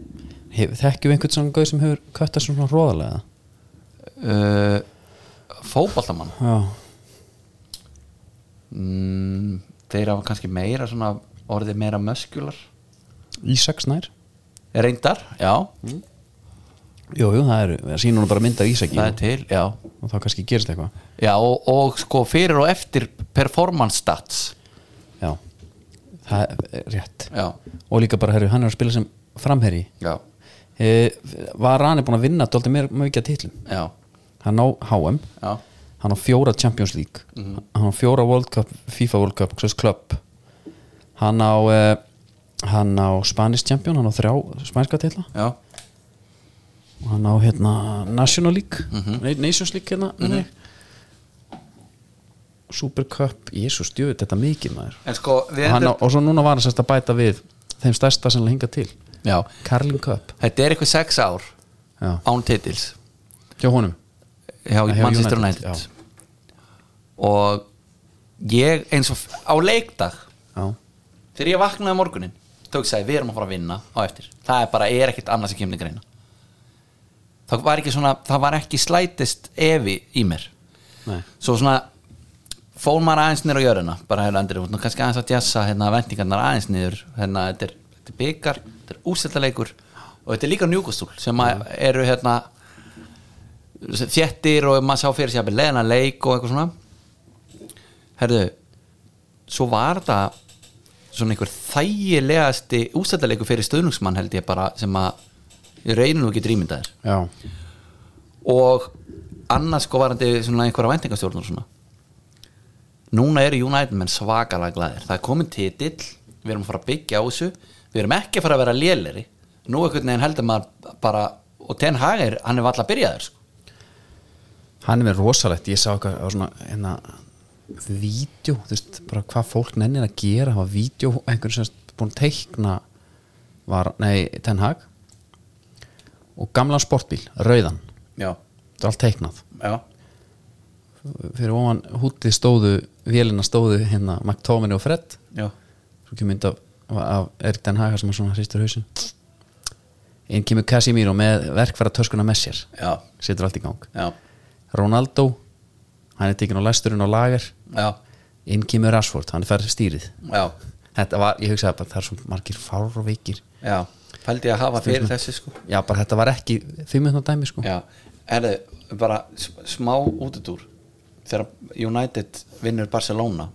S2: Hef- þekkjum við einhvern svona gauð sem hefur köttað svona róðalega
S3: uh, fótballamann
S2: já,
S3: mm, þeir hafa kannski meira svona orðið meira möskular
S2: Ísaks nær
S3: reyndar, já,
S2: jú, jú, það er, það sýnur hún bara mynd af Ísaki
S3: það er til já,
S2: og þá kannski gerist eitthvað
S3: já og, og sko fyrir og eftir performance stats
S2: já, það er rétt
S3: já,
S2: og líka bara, herru, hann er að spila sem framherji
S3: já,
S2: e, var hann er búin að vinna dóldi mér mjög ekki að titlum
S3: já,
S2: hann á HM,
S3: já
S2: hann á fjóra Champions League hann á fjóra World Cup, FIFA World Cup Xbox Club hann á, eh, hann á Spanish Champion, hann á þrjá spænska titla
S3: já,
S2: og hann á hérna National League Nei, Nations League hérna mm Super Cup Jésu stjöfut, þetta er mikið maður
S3: en sko
S2: og, hann á, og svo núna var hann sérst að bæta við þeim stærsta sem hinga til
S3: já,
S2: Carling Cup
S3: þetta er eitthvað sex ár
S2: Já.
S3: án titils
S2: hjá honum
S3: hjá
S2: Hjá
S3: Manchester
S2: United,
S3: United og ég eins og f- á leikdag
S2: já,
S3: þegar ég vaknaði morgunin tók sæði við erum að fara að vinna á eftir það er bara, er ekkert annað sem kemur til greina það var ekki svona það var ekki slætist efi í mér
S2: nei,
S3: svo svona fól maður aðeins niður á jörðina bara hefur andri, nú kannski aðeins að djassa hérna vendingarnar aðeins niður hérna, þetta er, þetta er byggar, þetta er úrstættaleikur og þetta er líka njúkastúl sem að eru hérna þjettir og maður sá fyrir sér að leðina leik og eitthvað svona herðu svo var þetta svona einhver þægilegasti úrstættaleikur fyrir stöðnungsmann held ég bara sem að ég reynir nú ekki drýmyndaðir
S2: já,
S3: og annars sko varandi svona einhverja væntingastjórn og svona núna eru United menn svakalega glæðir það er komin titill, við erum að fara að byggja á þessu við erum ekki að fara að vera léleri nú einhvern veginn heldur maður bara og Ten Hag er, hann er valla byrjaður sko.
S2: hann er með rosalegt ég sá eitthvað á svona hérna, vídeo, þú veist, bara hvað fólk nennir að gera, það var vídeo einhvern sem sagt búin að teikna var, nei, Ten Hag og gamlan sportbíl, rauðan
S3: já,
S2: þetta er allt teiknað
S3: já,
S2: fyrir ofan hútið stóðu vélina stóðu hérna McTominay og Fred
S3: já
S2: svo kemur mynd af, af Erik Den Haga sem er svona hristur hausin inn kemur Casimiro með verkfæra töskuna með sér
S3: já,
S2: setur allt í gang
S3: já,
S2: Ronaldo, hann er tekinn á læsturinn á lager
S3: já,
S2: inn kemur Rashford, hann fer stýrið
S3: já,
S2: þetta var, ég hugsaði bara, það er svo margir fárveikir
S3: já. pældi ég að hafa fyrir þessu sko
S2: já, bara þetta var ekki fimmjöndna dæmi sko
S3: Já, erðu, bara s- smá útudúr þegar United vinnur Barcelona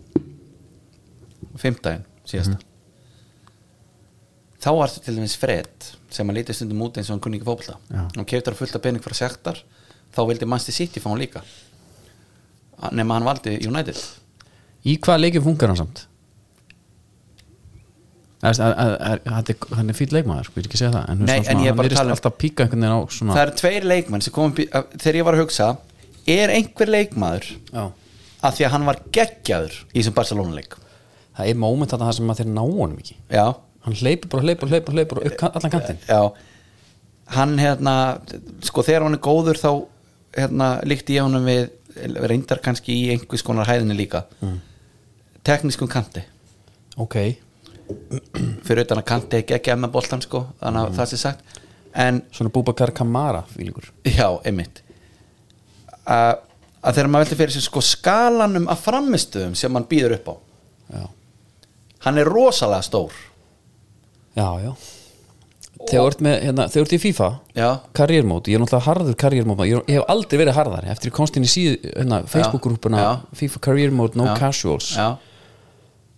S3: fimmtæðin síðasta þá var þetta til dæmis Fred sem að lítið stundum út eins og hann kunni ekki fókbalta
S2: Já.
S3: hann keftar fullt af pening frá sektar þá vildi Manchester City fá hann líka A- nema hann valdi United
S2: í hvaða leikjum funkar hann samt? Það veist, að- að- að- að- að- Hann er fýll leikmaður, sko, ég er ekki að segja það En, þú veist,
S3: Nei,
S2: svona,
S3: en ég er
S2: hann
S3: bara að
S2: virðist
S3: tala um-
S2: alltaf píka einhvern veginn á svona
S3: það eru tveir leikmenn sem komum þegar ég var að hugsa er einhver leikmaður
S2: Já.
S3: að því að hann var geggjaður í þessum Barcelona leik
S2: Það er moment þarna þar sem að þeir ná honum ekki
S3: já,
S2: Hann hleypur bara, hleypur, hleypur, hleypur og upp kan- allan kantinn
S3: já hann hérna, sko þegar hann er góður þá hérna líkti ég honum við reyndar kannski í einhvers konar hæðinni líka teknískum kanti
S2: Ok,
S3: fyrir utan að kanti ekki ekki emma boltan sko þannig að það sé sagt en
S2: svona Búbakar Kamara fílingur
S3: já, einmitt að, að þegar maður velti fyrir sér sko skalanum af framistöðum sem hann býður upp á
S2: Já,
S3: hann er rosalega stór
S2: já, já. Þegar þú ert með, hérna, þegar þú ert í FIFA
S3: Já.
S2: karriérmót, ég er náttúrulega harður karriérmót ég, er- ég hef aldrei verið harðari, eftir ég komst inn í síðu hérna, Facebook-grúpuna,
S3: já.
S2: FIFA karriérmót no
S3: Já.
S2: casuals,
S3: já,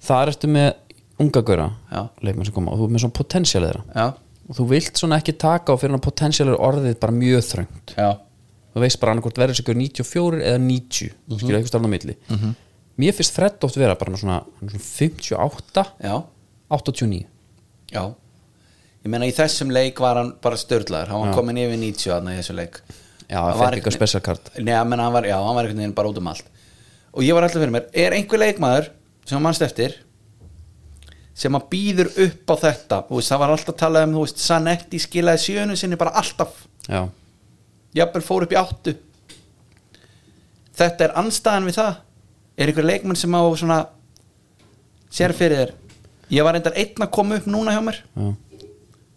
S2: þar ertu með unga góra
S3: Já.
S2: leikmenn sem koma og þú ert með svona potensial þeirra
S3: já,
S2: og þú vilt svona ekki taka á fyrir hann potensial er orðið bara mjög þröngt
S3: já
S2: þú veist bara annarkvort verður sigur 94 eða 90 mm
S3: Mhm.
S2: -hmm. skilja eitthvað stafna á milli mér finnst fredd oft vera bara svona, svona 58
S3: já,
S2: 89
S3: já ég meina í þessum leik var hann bara störðlaður hann var komin yfir 90 aðna í þessum leik
S2: Já,
S3: Hann
S2: fékk
S3: var
S2: eitthvað
S3: einhvern-
S2: special card.
S3: Nei, hann, hann var, já, hann var einhvern veginn bara út um allt og ég var alltaf fyrir mér, er einhver leikmaður sem hann mannst eftir sem að býður upp á þetta þú veist, það var alltaf talað um, þú veist, Sanetti skilaði sjönu sinni bara alltaf
S2: já,
S3: jafnvel fór upp í áttu þetta er anstæðan við það er einhver leikmann sem á svona sér fyrir þér ég var reyndar einn að koma upp núna hjá mér
S2: já,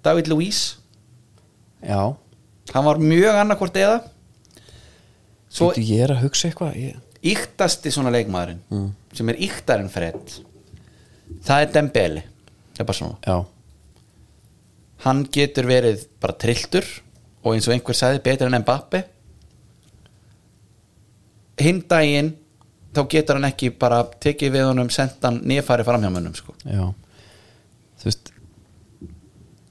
S3: David Luís,
S2: já.
S3: hann var mjög annarkvort eða svo
S2: Bíddu, ég er að hugsa eitthvað ég...
S3: yktasti svona leikmaðurinn sem er yktarinn fredd það er Dembele það er bara svona
S2: já,
S3: hann getur verið bara trilltur og eins og einhver sagði betur en Mbappe hinn daginn þá getur hann ekki bara tekið við honum sendan nýfæri framhjámönnum sko.
S2: já þú veist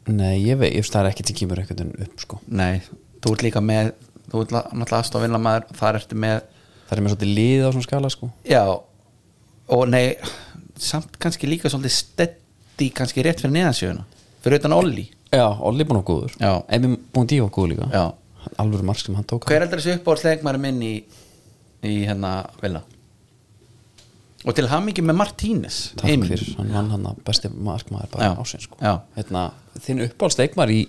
S2: nei, ég veit, ég veist það er ekki til kýmur einhvern veginn upp sko
S3: nei, þú ert líka með þú ert la- náttúrulega aðstofinlega maður þar ertu með,
S2: það er mér svolítið lið á svona skala sko
S3: já og nei, samt kannski líka svolítið steddi kannski rétt fyrir neðansjöfuna, fyrir utan Olli
S2: já, Olli er búin og góður
S3: Já.
S2: Emi búin díu og góður líka
S3: já,
S2: alvöru mark sem hann tók
S3: hver heldur þessi uppáhaldsleikmaður minn í, í hérna vilja og til hamingi með Martínez
S2: Takk
S3: Emil.
S2: fyrir, hann vann hann að besti markmaður bara
S3: Já.
S2: ásinn sko
S3: Já.
S2: hérna, þinn uppáhaldsleikmar í,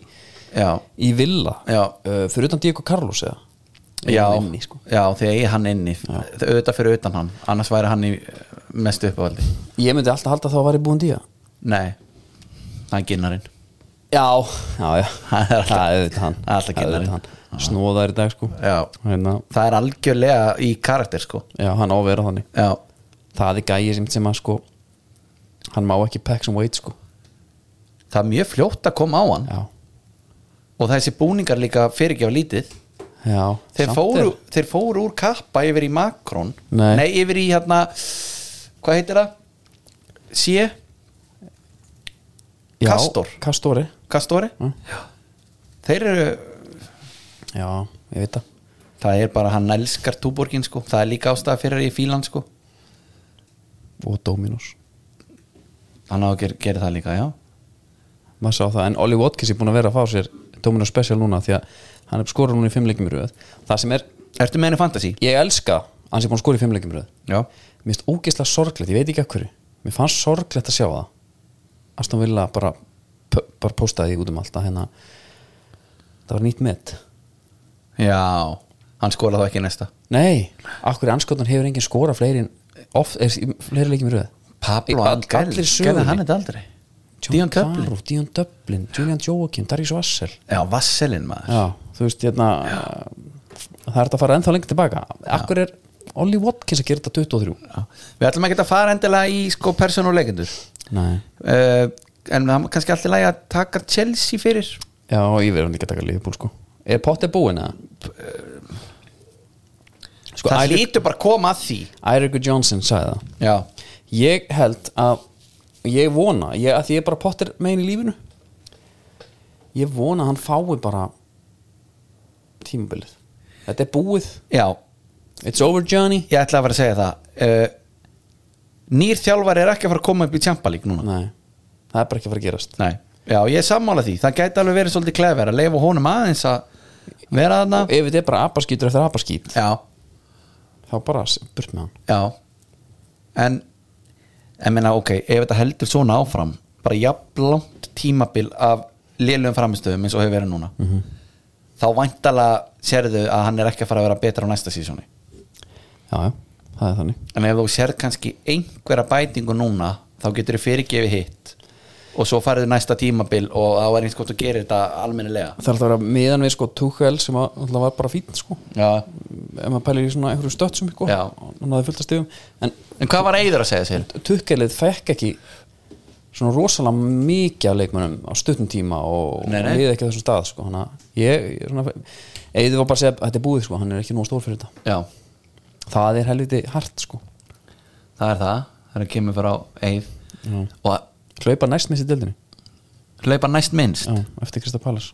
S3: já,
S2: í Villa
S3: Já.
S2: uh, fyrir utan Diego Carlos eða Er
S3: já,
S2: hann inni, sko.
S3: já þegar ég er hann inni Það- auðvitað fyrir utan hann, annars væri hann í eh, mestu uppáhaldi
S2: ég myndi alltaf halda þá að væri búin díu
S3: nei, hann er ginnarinn
S2: já, já, já
S3: Hann er alltaf-
S2: það er auðvitað hann,
S3: hann er alltaf
S2: Það er
S3: kennarinn.
S2: auðvitað hann. snóðar í dag sko
S3: já,
S2: hérna,
S3: það er algjörlega í karakter sko
S2: já, hann á að vera þannig
S3: já,
S2: það er gæi sem, sem að sko hann má ekki pack some weight sko
S3: það er mjög fljótt að koma á hann
S2: já,
S3: og þessi búningar líka fyrirgefa lítið
S2: já
S3: þeir
S2: samt
S3: fóru,
S2: er-
S3: þeir fóru úr kappa yfir í Macron
S2: Nei.
S3: yfir í hérna hvað heitir það? Sjö?
S2: já,
S3: Kastor.
S2: Kastori,
S3: Kastori?
S2: Mm.
S3: þeir eru
S2: já, ég veit það
S3: það er bara hann elskar túborgin sko það er líka ástæða fyrir í fílan sko
S2: og Dominos,
S3: hann á að gera, gera það líka, já
S2: maður sá það en Ollie Watkins er búin að vera að fá sér Dominos special núna því að hann er skorað núna í fimmleikum röð það sem er,
S3: Ertu með henni fantasy?
S2: ég elska að hann sé búin að skora í fimmleikum röð
S3: Já
S2: mér finnst ógeðslega sorglegt, ég veit ekki af hverju mér fannst sorglegt að sjá það Aston Villa bara p- bara postaði því út um allt að hérna það var nýtt met
S3: Já, hann skora þá ekki í næsta
S2: nei, af hverju anskotan hefur enginn skora fleiri en oft, er, fleiri leikjum í röð
S3: Pablo
S2: All-
S3: Angel,
S2: allir
S3: gerði hann
S2: sögunni
S3: þetta aldrei?
S2: John
S3: Díon Dublin
S2: Carroll, Díon Dublin, Julian Joakim Darius Vassel
S3: Já, Vasselin maður
S2: Já, þú veist, hérna það er þetta að fara ennþá lengi tilbaka Akkur er Ollie Watkins að gera þetta 23
S3: Já. Við ætlum ekki að fara endilega í sko persónuleikendur
S2: Nei,
S3: uh, en það er kannski alltaf lægi að taka Chelsea fyrir
S2: já, ég verður hann ekki að taka liðbúl sko Er Potter búinn eða? Sko,
S3: það
S2: Eirik-
S3: lítur bara að koma að því
S2: Eirik Johnson sagði það
S3: já,
S2: Ég held að ég vona, ég, að því ég er bara Potter megin í lífinu Ég vona að hann fái bara tímabilið Þetta er búið,
S3: já,
S2: it's over Johnny
S3: ég ætla að vera að segja það uh, nýr þjálfar er ekki að fara að koma upp í Champa League núna
S2: Nei, það er bara ekki að fara að gerast
S3: nei, já, ég er sammála því það gæti alveg verið svolítið klefver að leifa honum aðeins að vera þarna
S2: ef þetta er bara abaskýtur eftir abaskýt
S3: já,
S2: þá bara s- burt með hann
S3: já en, en meina, ok, ef þetta heldur svona áfram bara jafn langt tímabil af lélugum framistöðum eins og hefur verið núna þá væntalega sérðu að hann er ekki að fara að vera betra á næsta sísóni
S2: já, já, það er þannig
S3: en ef þú sérð kannski einhverja bætingu núna þá getur þið fyrirgefið hitt og svo farið næsta tímabil og þá er eins gott að gera þetta almennilega
S2: það er alltaf að vera meðan við sko Tuchel sem að, alltaf var bara fín sko
S3: já.
S2: ef maður pælir í svona einhverju stötsum sko
S3: Já.
S2: hann hafði fullt að stigum en
S3: en hvað var Eiður að segja sér?
S2: Tuchelið fekk ekki svona rosalega mikið af leikmönnum á stuttum tíma og
S3: Nei, nei.
S2: liði ekki á þessum stað sko hann að ég, ég svona eða var bara að segja að þetta er búið sko hann er ekki nóg stór fyrir þetta
S3: já,
S2: það er helviti hart sko
S3: það er það það er að kemur frá Eið
S2: Já.
S3: og að
S2: hlaupa næst með sér dildinni
S3: hlaupa næst minnst
S2: já, eftir Krista Pallas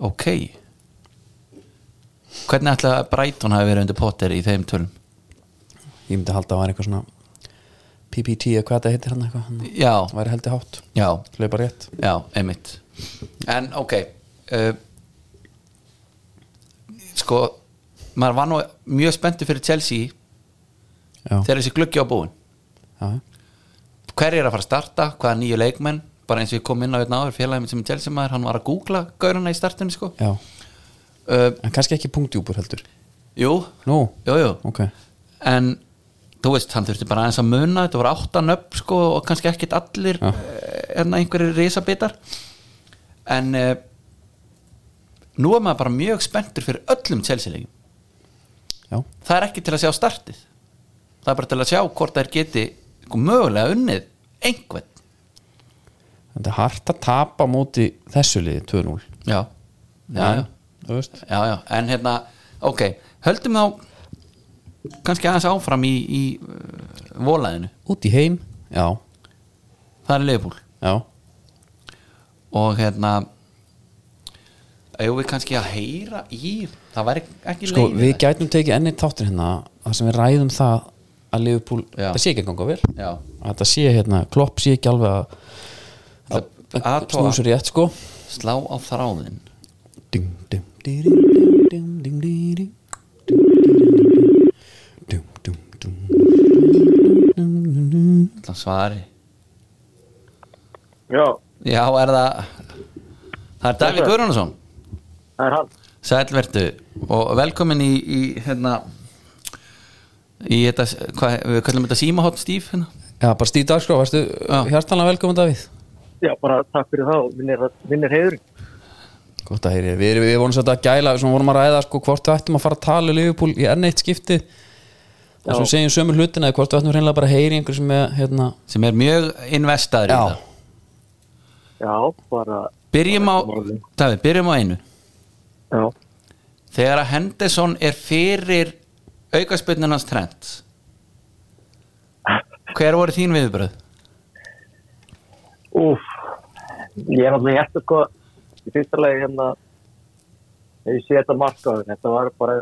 S3: ok hvernig ætla að Brighton hafi verið undir Potter í þeim tölum?
S2: ég myndi halda að það var eitthvað svona PPT eða hvað þetta heitir hann eitthvað hann
S3: já,
S2: væri heldur hátt,
S3: já,
S2: hlaupa rétt
S3: já, einmitt en ok uh, sko maður var nú mjög spenntur fyrir Chelsea
S2: Já.
S3: þegar þessi gluggi á búin
S2: Já.
S3: hver er að fara að starta, hvaða nýju leikmenn bara eins og ég kom inn á hérna áður félagin minn sem er Chelsea maður, hann var að googla gaurana í startinu sko
S2: Já,
S3: uh,
S2: en kannski ekki punktjúpur heldur
S3: jú,
S2: Nú,
S3: jú, jú
S2: ok
S3: en þú veist, hann þurfti bara aðeins að muna þetta voru áttan upp sko og kannski ekkit allir
S2: Já.
S3: eh, hérna einhverjir risabitar en uh, nú er maður bara mjög spenntur fyrir öllum Chelsea-leikjum
S2: Já,
S3: það er ekki til að sjá startið það er bara til að sjá hvort þær geti sko, mögulega unnið einhvern
S2: þetta er hart að tapa móti þessu liði 2-0
S3: já, já, já,
S2: Þú veist
S3: já, já. en hérna, ok, höldum þá kannski aðeins áfram í, í uh, volaðinu,
S2: Út í heim Já,
S3: það er leifbúl
S2: já
S3: og hérna eigum við kannski að heyra í það væri ekki
S2: Sko, við
S3: leiðinlegt.
S2: gætum tekið enni þáttur hérna Það sem við ræðum það að Liverpool
S3: Já.
S2: Það sé ekki að ganga vel
S3: já,
S2: Að það sé hérna, klopp sé ekki alveg að
S3: Það-
S2: að
S3: aðtoga.
S2: snúsa rétt sko
S3: slá á þráðin
S2: Dum, dum, dýrim, dum, dum, dum, dýrim, dum, dum, dum, dum, dum, dum, dum, dum.
S3: það svari
S5: Já,
S3: já, er það það er Davík Guðrúnarsson
S5: það er hann
S3: Sælvertu og velkomin í, í hérna í þetta, hvað, við kallum þetta símahótt stíf hérna.
S2: Já, bara stíð dagskrá, varstu
S3: Já.
S2: hjartanlega velkomin Davíð
S6: Já, bara takk fyrir það og minnir, minnir heiðurinn.
S2: Gott að heyri, við, erum- við vorum svolítið að gæla svona vorum að ræða sko hvort við ættum að fara að tala um Liverpool í enn eitt skipti og svo segjum sömu hlutina eða hvort við ættum reynilega bara að heyri einhver sem er hérna
S3: sem er mjög investaður í
S2: Já.
S3: þetta
S6: Já, bara,
S3: byrjum á, Davíð, byrjum á einu
S6: já,
S3: þegar að Henderson er fyrir aukaspyrnunans trend hver voru þín viðbröð?
S6: úf, ég er náttúrulega hérna sko, í fyrsta lagi hérna, þegar ég sé þetta markaður, þetta var bara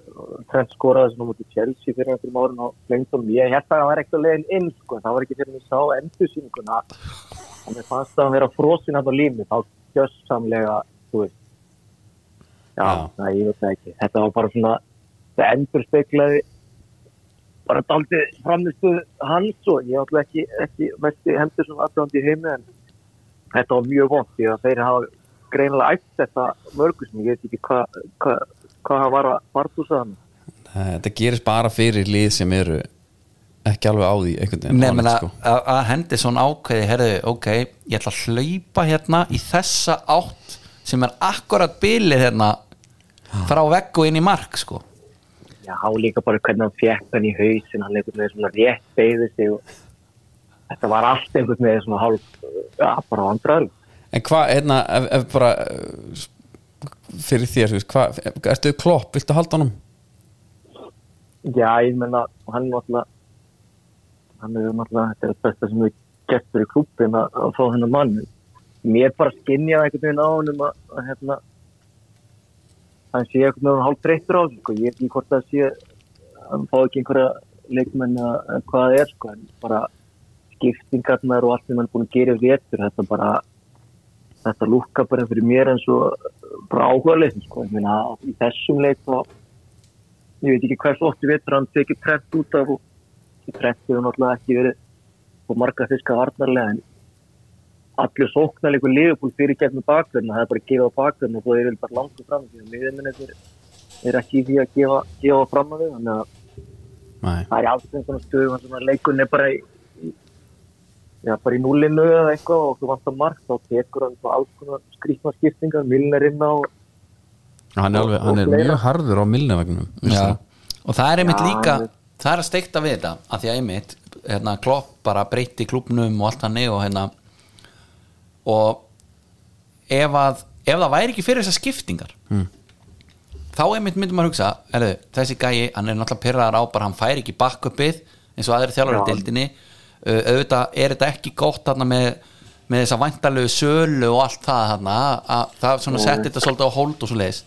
S6: trend skoraði sem á mútið Chelsea fyrir einhverjum árun og lengt um, ég hérna það var ekkert að leiðin inn sko, það var ekki fyrir mig sá endursýninguna og mér fannst það að vera frosin hann á lími, þá gjössamlega, þú veist, já,
S2: Já.
S6: næ, ég veit það ekki, þetta var bara svona, það endur speklaði bara daldið framistu hans og ég ætla ekki, ekki mesti hendur sem aðdöndi í heimi en þetta var mjög vond því að þeir hafa greinilega ætt þetta mörgusum, ég veit ekki hvað hva, hva hann var að fardúsa hann
S2: eh, þetta gerist bara fyrir lið sem eru ekki alveg á því einhvern veginn
S3: Nei,
S2: á
S3: menna,
S2: neitt, sko.
S3: að að Henderson ákveði herðu, ok, ég ætla að hlaupa hérna í þessa átt sem er akkurat bilið hérna frá vegg og inn í mark sko.
S6: Já, líka bara hvernig hann fjekk hann í hausin, hann einhvern veginn svona rétt beigði sig og þetta var allt einhvern veginn svona hálf, já, bara vandræðilegt.
S2: En hvað, hérna, ef, ef bara eh, s- fyrir þér, þú veist, hvað ertu klopp, viltu halda honum?
S6: Já, ég menna, hann er náttúrulega, hann er náttúrulega, þetta er það besta sem við getur í klúbin að, að fá hennar mann. Mér bara skinnjaði einhvern veginn á hann um að, að hérna, hann sé einhvern veginn hálf breyttur á þessu, sko. Ég veit ekki hvort það sé, hann fá ekki einhverja leikmenn að að hvað það er, sko, en bara skiptingarnar og allt sem hann er búin að gera í vetur, þetta bara, þetta lúkka bara fyrir mér eins og bara áhugaðleisin, sko. Ég meina, í þessum leik þá, ég veit ekki hvers ótti vetur hann tekið trent út af og trent hefur náttúrulega ekki verið og marga fiska varnarlega en allir sóknar líka liðbúl fyrir gegnum bakverðina, það er bara að gefa bakverðina og það er vel bara langt og fram því að miðurminni er, er ekki í því að gefa, gefa fram að við þannig að
S2: Nei,
S6: það er alls einhvern stöðum þannig að leikunni er bara í, í, já, bara í núlinu eða eitthvað og þú vantar margt þá tekur hann bara alls konar skrýtna skiptingar, milnir inn á
S2: hann er, alveg, hann er mjög harður á millinavagnum
S3: og það er einmitt
S6: Já,
S3: líka
S6: hann-
S3: það er að steikta við þetta, að því að einmitt hérna, klopp bara breytti klubnum og allt hann og hérna og ef að ef það væri ekki fyrir þessar skiptingar þá einmitt myndum maður hugsa herðu, þessi gæi, hann er náttúrulega pyrraðar á bara hann fær ekki bakkupið eins og aðri þjálfari deildinni uh, auðvitað er þetta ekki gott þarna með með þessa væntalegu sölu og allt það þarna, að, að það svona setti þetta svolítið á hold og svo leiðis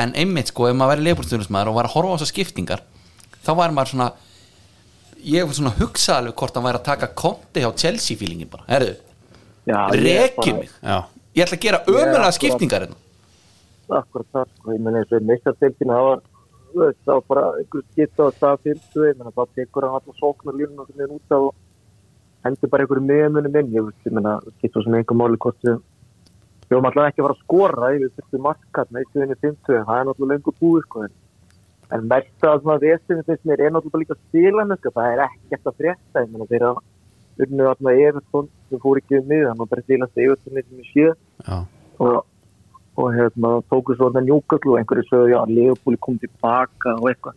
S3: en einmitt sko, ef maður verið leifbúrstjónusmaður og var að horfa á þessar skiptingar þá var maður svona ég var svona að hugsa alveg hvort hann væri að taka konti hjá Chelsea feelingin bara, herðu,
S6: já, ég er bara-
S3: reki mig
S2: Já,
S3: Ég ætla að gera ömulega skiptingar hérna
S6: akkurat það sko, ég meina eins og meistardeltin hafa þú veist, þá bara einhver skipta á stað 50, ég meina það tekur hann allar sóknar línuna sem er út af og hendur bara einhverju meðmunum inn ég veist, ég meina, skipta sem einhver máli hvort við við höfum allavega ekki að fara að skora ég veist, þetta markat með 1.50 það er náttúrulega lengur búið sko en, en mesta að svona vesinu þess mér er náttúrulega líka stílan sko, það er ekkert að frétta ég meina þeirra urnu þarna yfir sem fór ekki um miðan og bara stílast yfir sem ég sé
S2: já,
S6: og, og hérna, tóku svo þetta njúkall og einhverju sögðu, já, Leopold kom tilbaka og eitthvað.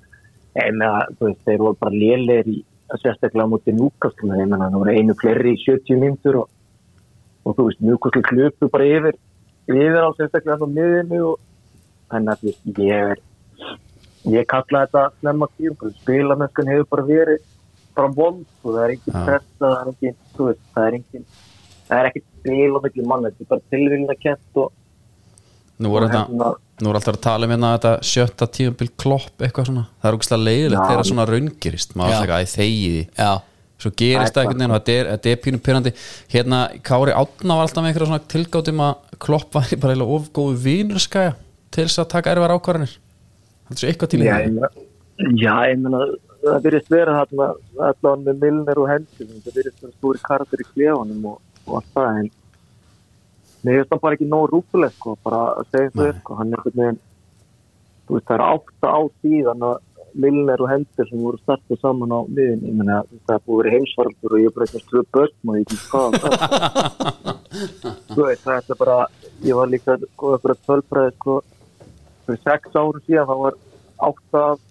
S6: En að, þú veist, þeir voru bara lélegir í sérstaklega á móti njúkall, en það voru einu fleiri í 70 mínútur og, og þú veist, njúkall klupu bara yfir, yfir á sérstaklega á miðinu og þannig að þú veist, ég er, ég kalla þetta snemma tíum, spilamennskan hefur bara verið bara vond og það er engin
S2: Já.
S6: pressa, það er engin, þú veist, það er engin, það er ekkert spil og mikil mann, þetta er bara tilvílinda kent og
S2: nú er
S6: Og
S2: þetta
S6: hérna-
S2: nú er alltaf að tala um hérna þetta sjötta tíðanbíl klopp eitthvað svona, það er ógæslega leiðilegt
S6: Já.
S2: þegar svona raungirist, maður
S3: Já.
S2: er eitthvað að þegiði
S3: Já,
S2: svo gerist það
S6: Það er
S2: einhvern veginn og þetta er, þetta er pínum pyrrandi hérna Kári Átna var alltaf með einhverja svona tilgátum að klopp var bara eiginlega of góðu vínurskæja til þess að taka erfar ákvarðanir heldur þessu eitthvað til í
S6: Já,
S2: það?
S6: ég meina- já, ég meina það virðist vera þarna allan með Milner og Henderson það virðist vera stóri karakter í klefanum og, og allt það en mér finnst það bara ekki nóg rúfuleg sko, bara að segja þau sko, hann er einhvern veginn þú veist það er átta á síðan að Milner og Henderson voru startið saman á miðin, ég meina þú veist, það er búið að vera heimsvaraldur og ég er bara eitthvað stöðu börn og ég ekki hvað það þú veist, það er bara ég var líka, sko, eitthvað tölfræði sko, fyrir sex árum síðan þá var átta af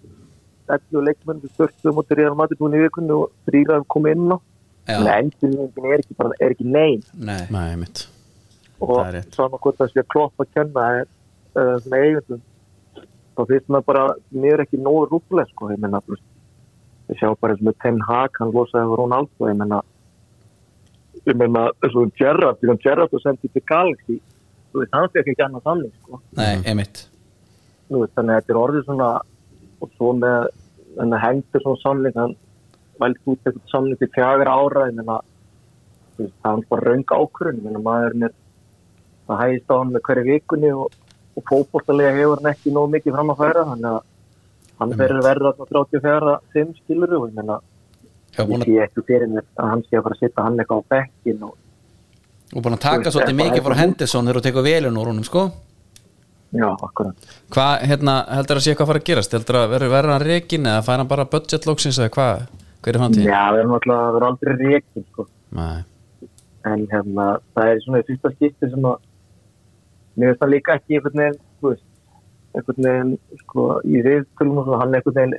S6: 11 leikmenn við störtum og þeirra matið búin í vikunni og þrýraðum komið inn á
S3: já,
S6: en endurlingin er ekki, bara, er ekki nein
S3: nei
S2: Nei, mitt Það er
S6: og
S2: rétt.
S6: saman hvort það sé að kloppa að kenna er uh, með eigundum þá finnst maður bara, mér er ekki nógu rúfleg sko, ég menna ég sjá bara eins og með Ten Hag, hann losaði frá Ronaldo, ég menna ég menna, eins og um Gerrard, ég menna Gerrard og sendið til Galaxy þú veist, hann fekk ekki annað þannig sko
S3: Nei, einmitt
S6: Nú, þannig að þetta er orðið svona og svo með henni hendur svona samling hann vældi út eitthvað samling til fjagur ára en þannig að það er bara raung ákvörðun þannig að maður er það hægist á hann með hverju vikunni og, og fótboltalega hefur hann ekki nóg mikið fram að færa þannig að hann verður verða þarna 34 5 skilur og ég meina
S3: Ég var
S6: ég
S3: búin að,
S6: sé ekki fyrir mér að hann sé að fara að setja hann eitthvað á bekkin og
S3: og búin að taka svolítið mikið frá Henderson þegar þú tekur velun úr honum, sko
S6: já, akkurat
S2: Hvað, hérna, heldur að sé eitthvað að fara að gerast? Heldur að verður verður hann reikin eða fær hann bara budget loksins eða hvað? Hver er hann
S6: Já,
S2: til?
S6: við erum alltaf, við erum aldrei reikin sko
S2: Nei,
S6: en hérna, það er svona í fyrsta skipti sem að mér finnst það líka ekki einhvern veginn, þú veist einhvern veginn, sko, í reyðtölum og svona, hann einhvern veginn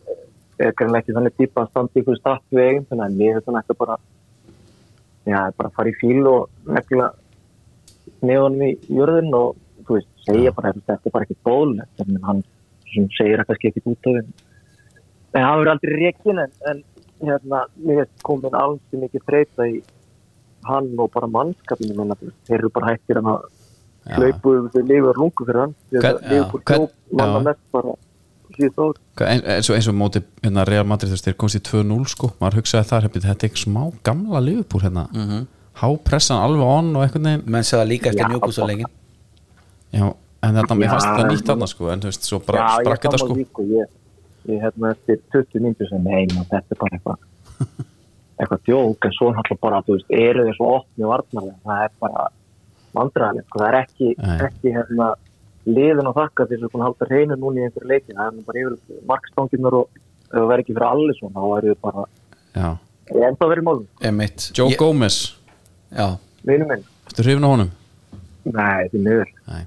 S6: er greinlega ekki þannig típa að standa í einhverju startvegin þannig að mér finnst það ekki bara já, bara fara í fíl og negla neðanum í jörðin og þú veist, segja bara þetta þetta er bara ekki bóðlegt, en hann sem segir það kannski ekki út af henn en hann verður aldrei reikin en, en hérna, mér finnst komin alls sem ekki þreita í hann og bara mannskapinu minna, þeir eru bara hættir að um
S2: Já.
S6: hlaupu þeir lifa rungu fyrir hann
S2: Hvern- já,
S6: lifa
S2: hvern-
S6: hljóp, manna
S2: já.
S6: mest bara síðan þó,
S2: Hvað, ein- eins og, eins og móti hérna, Real Madrid þú veist, þeir komst í 2-0 sko maður hugsaði þar, hefnir, þetta er ekki smá gamla liðupúr hérna, mm -hmm. hápressan alveg on og eitthvað neginn
S3: menn segða líka eftir
S6: Já,
S3: njókus að lengi
S2: Já, en þetta, mér
S6: Já,
S2: fannst þetta
S6: en-
S2: nýtt þarna sko, en þú veist, svo
S6: já,
S2: bara
S6: ég
S2: sprakk þetta
S6: saman
S2: sko
S6: líku ég, ég hérna eftir 20 myndir sem heim og þetta er bara eitthvað eitthvað djók, en svo náttúrulega bara þú veist, eru þeir svo opni og varnarlega það er bara vandræðanlega sko. það er ekki,
S2: Nei.
S6: ekki hérna liðin að þakka því sem hún halda hreinu núna í einhverju leikin, það er nú bara yfir markstanginar og ef það verður ekki fyrir allir svona, þá eru þau bara
S2: Já.
S6: ég er enda verið málum,
S3: Einmitt
S2: Joe
S3: Ég-
S2: Gomez,
S3: Já,
S6: vinur minn
S2: ertu hrifin á honum?
S6: Nei, því miður.
S2: Nei.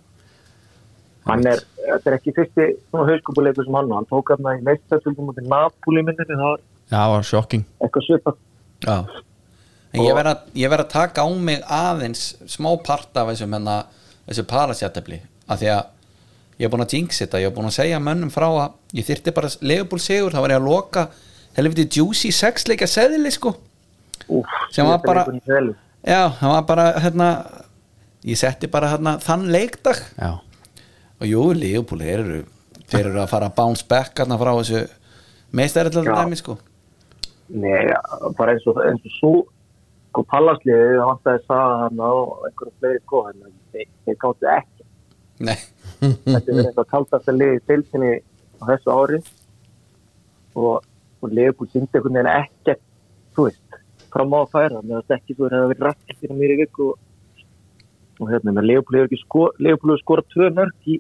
S6: Hann er, þetta er ekki fyrsti svona hauskúpuleikur sem hann á. Hann tók hann í meistartöldum út í Napoli minnir það var
S2: Já, það var sjokking
S6: eitthvað svipað.
S3: já En ég verð að, ég verð að taka á mig aðeins smá part af þessum hérna, þessu parasjættefli af því að ég er búin að jinx þetta ég er búin að segja mönnum frá að ég þyrti bara legubúl sigur, þá var ég að loka helviti juicy sexleika seðli sko
S6: Úf,
S3: Sem var
S6: þetta er
S3: bara-
S6: einhvern veginn vel.
S3: Já, það var bara hérna ég setti bara hérna þann leikdag
S2: Já,
S3: og jú, Leopold eru þeir eru að fara að bounce back hérna frá þessu meistarallar
S6: Já.
S3: dæmi sko
S6: Nei, bara eins og, eins og svo sko pallasliðið það vantaði saða hann og einhverju fleiri sko en þeir, þeir gáttu ekki
S3: Nei,
S6: þetta er eitthvað kaldast að liði tilfinni á þessu ári og, og liðbúl syndi einhvern veginn ekkert þú veist, fram á að færa með að ekki þú hefur verið rætt fyrir mér í viku og, og hérna, menn liðbúl hefur ekki sko, liðbúl hefur skorað tvö mörg í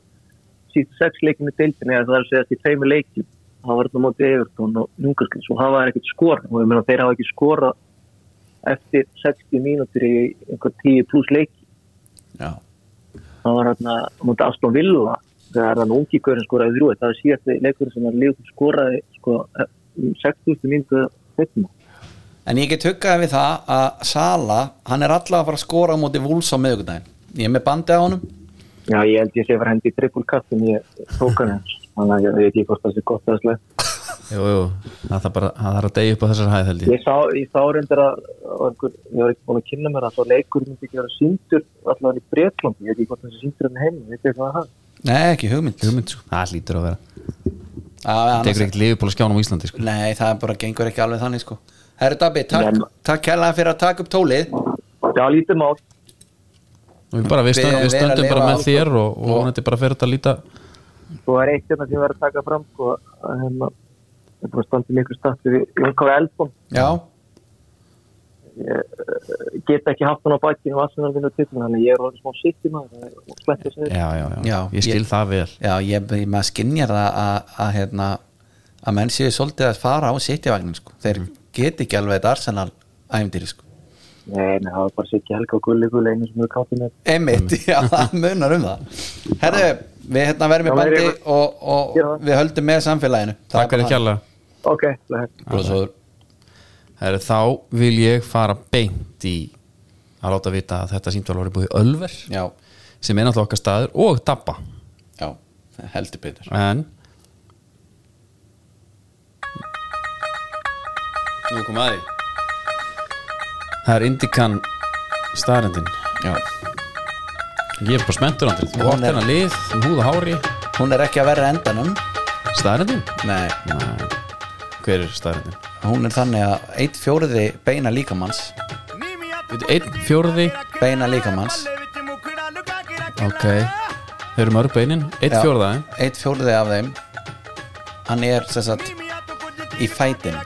S6: síðan sex leikinu tilfinni eða það er að segja að í tveimur leikin það var þetta mótið Evertón og Njungarskins og það var ekkert skora og ég meina þeir hafa ekki skorað eftir 60 mínútur í einhver 10 pluss leiki
S3: já,
S6: það var hérna mútið Aston Villa þegar hann ungi kvörin skoraði þrjú það var síðasti leikurinn sem hann lífum skoraði sko, eh, um 6000 myndu setna
S3: En ég get huggaði við það að Sala, hann er allavega að fara að skora á móti vúls á miðugdæn. Ég er með bandið á honum.
S6: já ég held ég sé var hendi í trippulkatt en ég tók hann eins þannig að ég veit ekki hvort það sé gott eða slægt
S2: Jú, jú, það þarf bara það þarf að deyja upp á þessar hæð held ég
S6: ég sá, ég sá reyndar að að einhver, ég var ekki búin að kynna mér að þá leikur myndi ekki vera síndur allavega í Breitlandi, ég veit ekki hvort það sé síndur enn heim, veit ekki hvað það er.
S3: Nei, ekki hugmynd.
S2: Hugmynd, sko. það hlýtur að vera
S3: Að,
S2: Það tekur ekkert liðból á skjánum á Íslandi sko.
S3: Nei, það er bara gengur ekki alveg þannig sko. Herru Dabbi, takk,
S6: Nei.
S3: takk kærlega fyrir að taka upp tólið.
S6: já lítið mál,
S2: Og Við, bara, við, stönd, við
S3: Við- við erum að
S2: stöndum bara
S3: lifa
S2: með
S3: áfram.
S2: þér og, og vonandi bara fer þetta að líta
S6: þú er eitt hérna sem ég var að taka fram sko, að hérna ég er búin að standa í miklu stættu við Jónkóra Elbom
S3: Já,
S6: eh, get ekki haft hann á bakkinu og Arsenal vinna titlun þannig að ég er orðin smá sitt í maður og slett að segja
S2: já, já, já,
S3: Já,
S2: ég skil
S3: ég-
S2: það vel
S3: já, ég, ég maður skinjar að, að, að hérna, að menn séu svolítið að fara á sitjavagnin sko. Þeir get ekki alveg þetta Arsenal æmdýri sko.
S6: Nei, nei, það var bara Siggi Helga og Gulli Gulli einu sem við káttum með
S3: Einmitt, já, það munar um það. Herru, við hérna verðum í
S6: Já,
S3: bandi
S6: meiri-
S3: og, og
S6: Gera það.
S3: við höldum með samfélaginu.
S2: Takk fyrir kjalla
S6: Ok, bless.
S3: Blóðsóður.
S2: Herri, Þá vil ég fara beint í að láta vita að þetta símtál var búið Ölver
S3: Já,
S2: sem er náttúrulega okkar staður og Dabba
S3: já, heldur betur.
S2: en Nú kom aði Það er Indikan staðarendin
S3: Já.
S2: Ég er bara spenntur andri Þú
S3: Hún
S2: átt
S3: er-
S2: hennar lið, um húð og hári
S3: Hún er ekki að verra endanum.
S2: Staðarendin?
S3: Nei,
S2: Nei. Hver er staðarendin?
S3: hún er þannig að eitt fjóriði beina líkamanns
S2: Veitu, Einn fjórði
S3: beina líkamanns
S2: Ok Þau eru mörg beinin Einn
S3: Já,
S2: fjórða eh?
S3: Einn fjórði af þeim Hann er sem sagt í fætin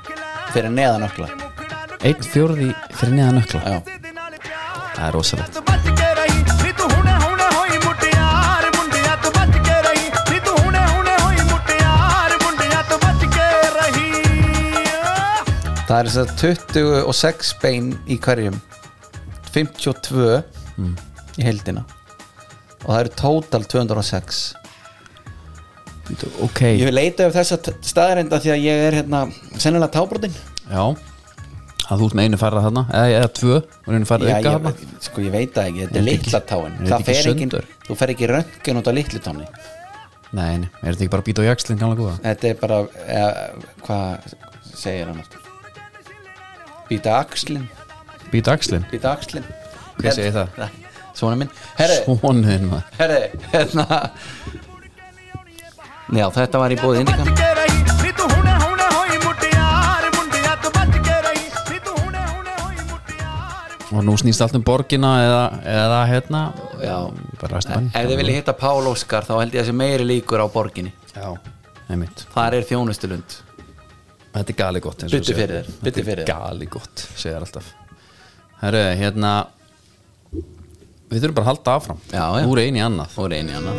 S3: fyrir neðan ökla
S2: Einn fjórði fyrir neðan ökla
S3: Já,
S2: Það er rosalegt
S3: það er sem sagt 26 bein í hverjum 52
S2: Mm.
S3: í heildina og það eru tótal 206
S2: Ok
S3: Ég vil leita ef þessa staðarenda því að ég er hérna sennilega tábrotin
S2: Já að þú ert með einu færða þarna eða, eða tvö og einu færða
S3: Já,
S2: auka
S3: ég,
S2: þarna
S3: sko ég veit það ekki, þetta
S2: Er
S3: er
S2: þetta
S3: litla
S2: ekki-
S3: táin
S2: er þetta
S3: Það
S2: ekki
S3: fer ekki,
S2: sundur?
S3: þú fer ekki röntgen út á litlu táni
S2: Nei, nei, er þetta ekki bara að býta á jakslinn kannlega góða?
S3: Þetta er bara eh, hvað segir hann aftur? Býta axlinn
S2: Býta axlinn?
S3: Býta axlinn Hérna,
S2: Hver segir það?
S3: Svona minn Herre,
S2: Svonuðin maður
S3: herre, hérna Já, þetta var í bóði Indika
S2: Og nú snýst allt um borgina eða, eða hérna
S3: Já.
S2: Bara ræstu
S3: Ef þið viljið hitta Pál Óskar þá held ég að sé meiri líkur á borginni
S2: Já Einmitt.
S3: Þar er þjónustulund
S2: Þetta er gali gott eins og
S3: Biddu
S2: þú segir.
S3: fyrir þér, biddu fyrir þér.
S2: Þetta er gali gott, segir alltaf Herru, hérna Við þurfum bara að halda áfram
S3: Já, já.
S2: Úr einu í annað
S3: og reyni hana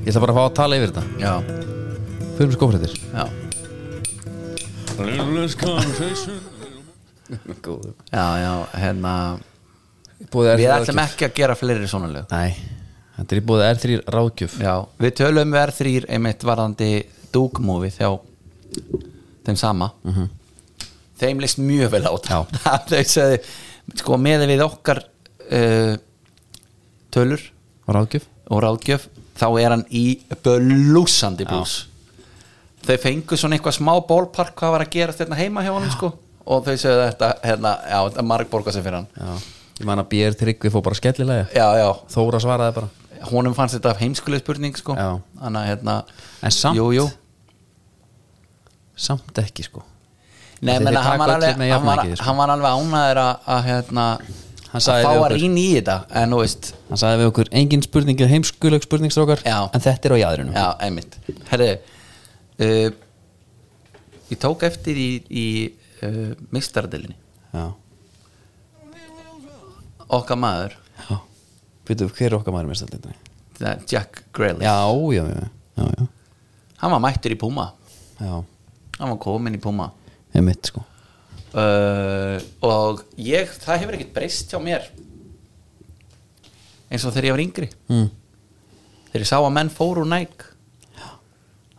S2: Ég ætla bara að fá að tala yfir þetta
S3: Já,
S2: Fyrir mér skófrættir
S3: já,
S2: Góðu
S3: já, já hérna Við
S2: Við
S3: ætlum ekki að gera fleiri svona lög
S2: Nei, þetta er í búið R3 ráðgjöf
S3: Já, við tölum við R3 einmitt varðandi Dugmovi þjá þeim sama þeim list mjög vel á það þau sagði, sko með við okkar uh, tölur
S2: Ráðgjöf?
S3: og ráðgjöf þá er hann í blúsandi blús þau fengu svona eitthvað smá bólpark hvað var að gera þetta heima hjá honum sko og þau sagði þetta, hérna, já, þetta margborga sem fyrir hann
S2: Já, ég man að BR Tryggvi fór bara skellilega
S3: já, já,
S2: Þóra svaraði bara
S3: honum fannst þetta heimskuleg spurning sko,
S2: Já.
S3: hann að hérna
S2: En samt-
S3: jú, jú,
S2: Samt ekki sko
S3: Nei,
S2: Þeir
S3: menna, hann, var
S2: taka öll
S3: alveg,
S2: með
S3: hann, var,
S2: jafnvægi, sko.
S3: hann var alveg ánæður að, að, hérna,
S2: Hann
S3: að
S2: sagði
S3: fá
S2: við
S3: að
S2: okkur.
S3: rýna í þetta en þú veist,
S2: hann sagði við okkur engin spurning er heimskuleg spurningstrókar
S3: Já.
S2: en þetta er á jæðrinu
S3: já, einmitt Herri uh, Ég tók eftir í, í uh, mistaradelinni
S2: já.
S3: okkar maður,
S2: já. Býtu, hver er okkar maður með stældinni?
S3: það er Jack Grealish
S2: Já, já, já, já, já,
S3: hann var mættur í Puma
S2: já.
S3: hann var komin í Puma
S2: Ég mitt sko
S3: uh, og ég, það hefur ekkert breyst hjá mér eins og þegar ég var yngri
S2: mm.
S3: þegar ég sá að menn fóru úr næk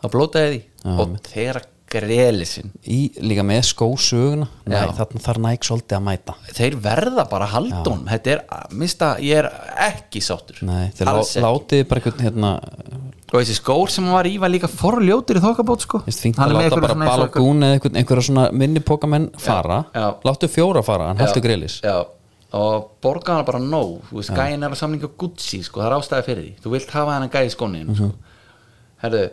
S3: þá blótaði því
S2: Já,
S3: og
S2: einmitt.
S3: þegar grelisinn
S2: Í líka með skósuguna
S3: Já.
S2: Næ, Þarna þarf næg svolítið að mæta
S3: þeir verða bara að halda honum þetta er, mista, ég er ekki sáttur
S2: Nei, þeir lá,
S3: Alls ekki.
S2: látið bara einhvern hérna
S3: og þessi skór sem hann var í var líka forljótur í þokkabót sko
S2: Veist, fínt
S3: Hann
S2: að
S3: er með
S2: láta
S3: einhverja
S2: bara
S3: svona eins og einhver-
S2: balagún eða einhvern, einhverja svona minni pokamenn fara
S3: já.
S2: Láttu fjóra fara, en
S3: Já,
S2: hættu grillis
S3: já, og borgaði hann bara nóg þú veist, gæin er að samlinga Gucci sko, það er ástæði fyrir því, þú vilt hafa hann að gæi skónin mm
S2: Mhm.
S3: sko. herðu,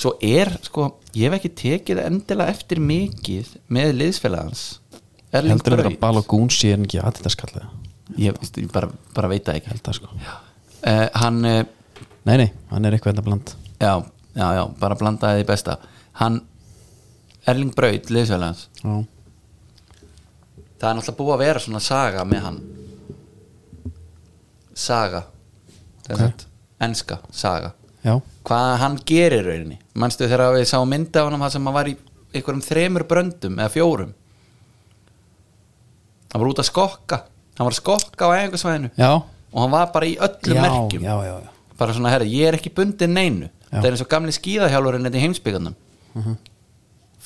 S3: svo er sko, ég hef ekki tekið endilega eftir mikið með liðsfélagans Erling
S2: Heldur þetta
S3: Braut.
S2: balagún sé en ekki að þetta skallið
S3: ég, veist, ég bara, bara veit það ekki
S2: Held það sko
S3: uh, hann, uh,
S2: Nei, nei, hann er eitthvað enda bland
S3: já, já, já bara blandaði því besta hann, Erling Braut, liðsfélagans
S2: Já,
S3: það er náttúrulega búið að vera svona saga með hann saga
S2: Ok.
S3: okay. enska saga
S2: já,
S3: hvað hann gerir í rauninni manstu þegar við sáum mynda á hann það sem hann var í einhverjum þremur bröndum eða fjórum hann var út að skokka hann var að skokka á einhversvæðinu
S2: já,
S3: og hann var bara í öllum
S2: já,
S3: merkjum
S2: já, já, já.
S3: bara svona herri, ég er ekki bundin neinu
S2: Já. Mhm.
S3: það er eins og gamli skíðahjálfurinn þetta í heimsbyggandum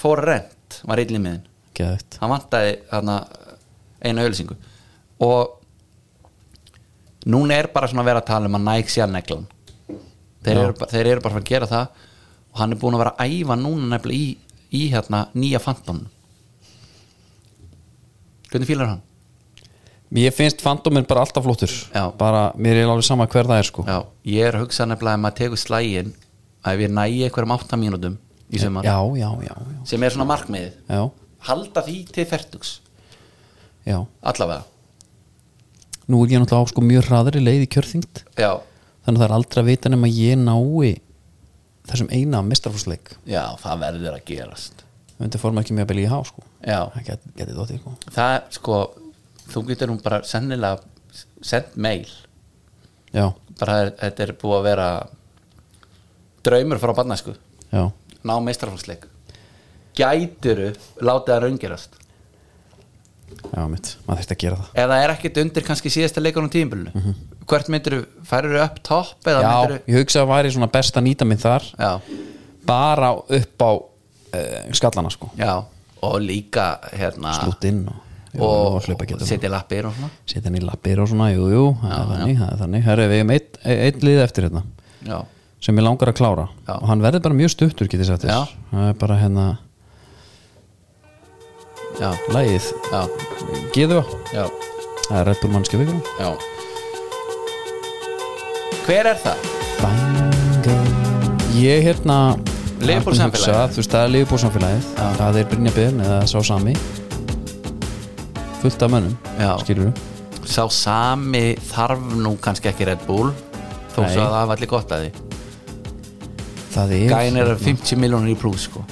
S3: fór rent var illa í miðin
S2: Geðvægt
S3: hann vantaði hana, eina auðlýsingu og núna er bara svona að vera að tala um að Nike sé að negla hann þeir,
S2: Já.
S3: eru bara- þeir eru bara að gera það og hann er búin að vera að æfa núna nefnilega í, í hérna nýja fantónum hvernig fílar hann?
S2: Ég finnst fandominn bara alltaf flottur
S3: Já.
S2: Bara, mér er alveg sama hver það er sko
S3: Já, ég er að hugsa nefnilega að maður tegur slægin að við nægi einhverjum átta mínútum í sumar,
S2: já, já, já, já.
S3: sem er svona markmiðið
S2: Já,
S3: halda því til fertugs,
S2: já
S3: allavega
S2: Nú er ég náttúrulega á sko mjög hraðri leið í kjörþyngd
S3: já,
S2: Þannig að það er aldrei að vita nema ég nái Þessum eina mistarfórsleik
S3: já, það verður að gerast
S2: Þetta fór maður ekki mjög að belja í há sko
S3: Já.
S2: Það get, getið þóttið sko
S3: það er, sko þú getur nú bara sennilega sendt mail
S2: Já,
S3: bara er- þetta er búið að vera draumur frá barnæsku
S2: já
S3: ná meistrafólksleik gæturu látið að raungerast
S2: Já, mitt, maður þurfti að gera það
S3: eða er ekkit undir kannski síðasta leikunum tímbilinu mm -hmm. hvert myndir þú, færir þú upp topp eða
S2: Já,
S3: myndir þú
S2: ég hugsa að væri svona best að nýta minn þar
S3: já,
S2: Bara upp á uh, skallana sko
S3: já, og líka hérna
S2: Slútt inn og, jú,
S3: og,
S2: hlaupa
S3: og
S2: getur.
S3: setja lappir og svona
S2: setja hann í lappir og svona, jú, jú það er þannig, það er þannig, herri, við eigum eitt, eitt lið eftir hérna,
S3: já,
S2: sem ég langar að klára
S3: Já.
S2: og hann verður bara mjög stuttur, getið sagt
S3: Já.
S2: þess það er bara hérna,
S3: já,
S2: lægið
S3: já,
S2: geðu,
S3: já,
S2: það er Red Bull mannskja vikur
S3: já hver er það?
S2: Bango ég hérna
S3: Liverpool
S2: Arnum hugsa,
S3: samfélagið.
S2: þú veist, það er Leifbúl samfélagið það er Brynja Byrn eða sá sami fullt af mönnum
S3: Já.
S2: skilur
S3: sá sami þarf nú kannski ekki Red Bull þó
S2: Nei.
S3: svo að það var allir gott að því
S2: það er,
S3: gæin er 50 miljónir í plus sko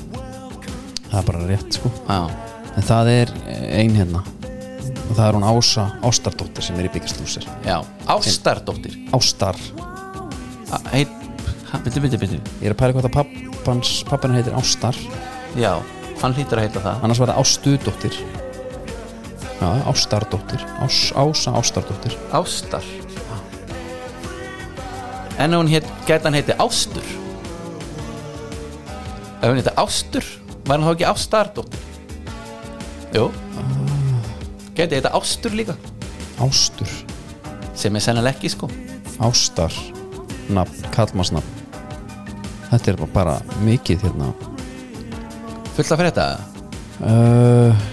S2: það er bara rétt sko
S3: já,
S2: en það er ein hérna og það er hún Ása Ástardóttir sem er í byggjastúsir
S3: já, ástardóttir
S2: Ástar
S3: A- heit, ha- byrju, byrju, byrju
S2: Ég er að pæla hvort að pappans, pappinu heitir Ástar
S3: já, hann hlýtur að heita það
S2: annars var það Ástudóttir Já, Ástardóttir Ás, Ása Ástardóttir
S3: ástar en ef hún heit, gæti hann heiti ástur ef hún heiti ástur var hann þá ekki ástardóttir jú gæti heita ástur líka
S2: Ástur,
S3: sem er sennilega ekki sko
S2: Ástar nafn, kallmannsnafn Þetta er bara- bara mikið hérna
S3: fullt af fyrir þetta
S2: uh,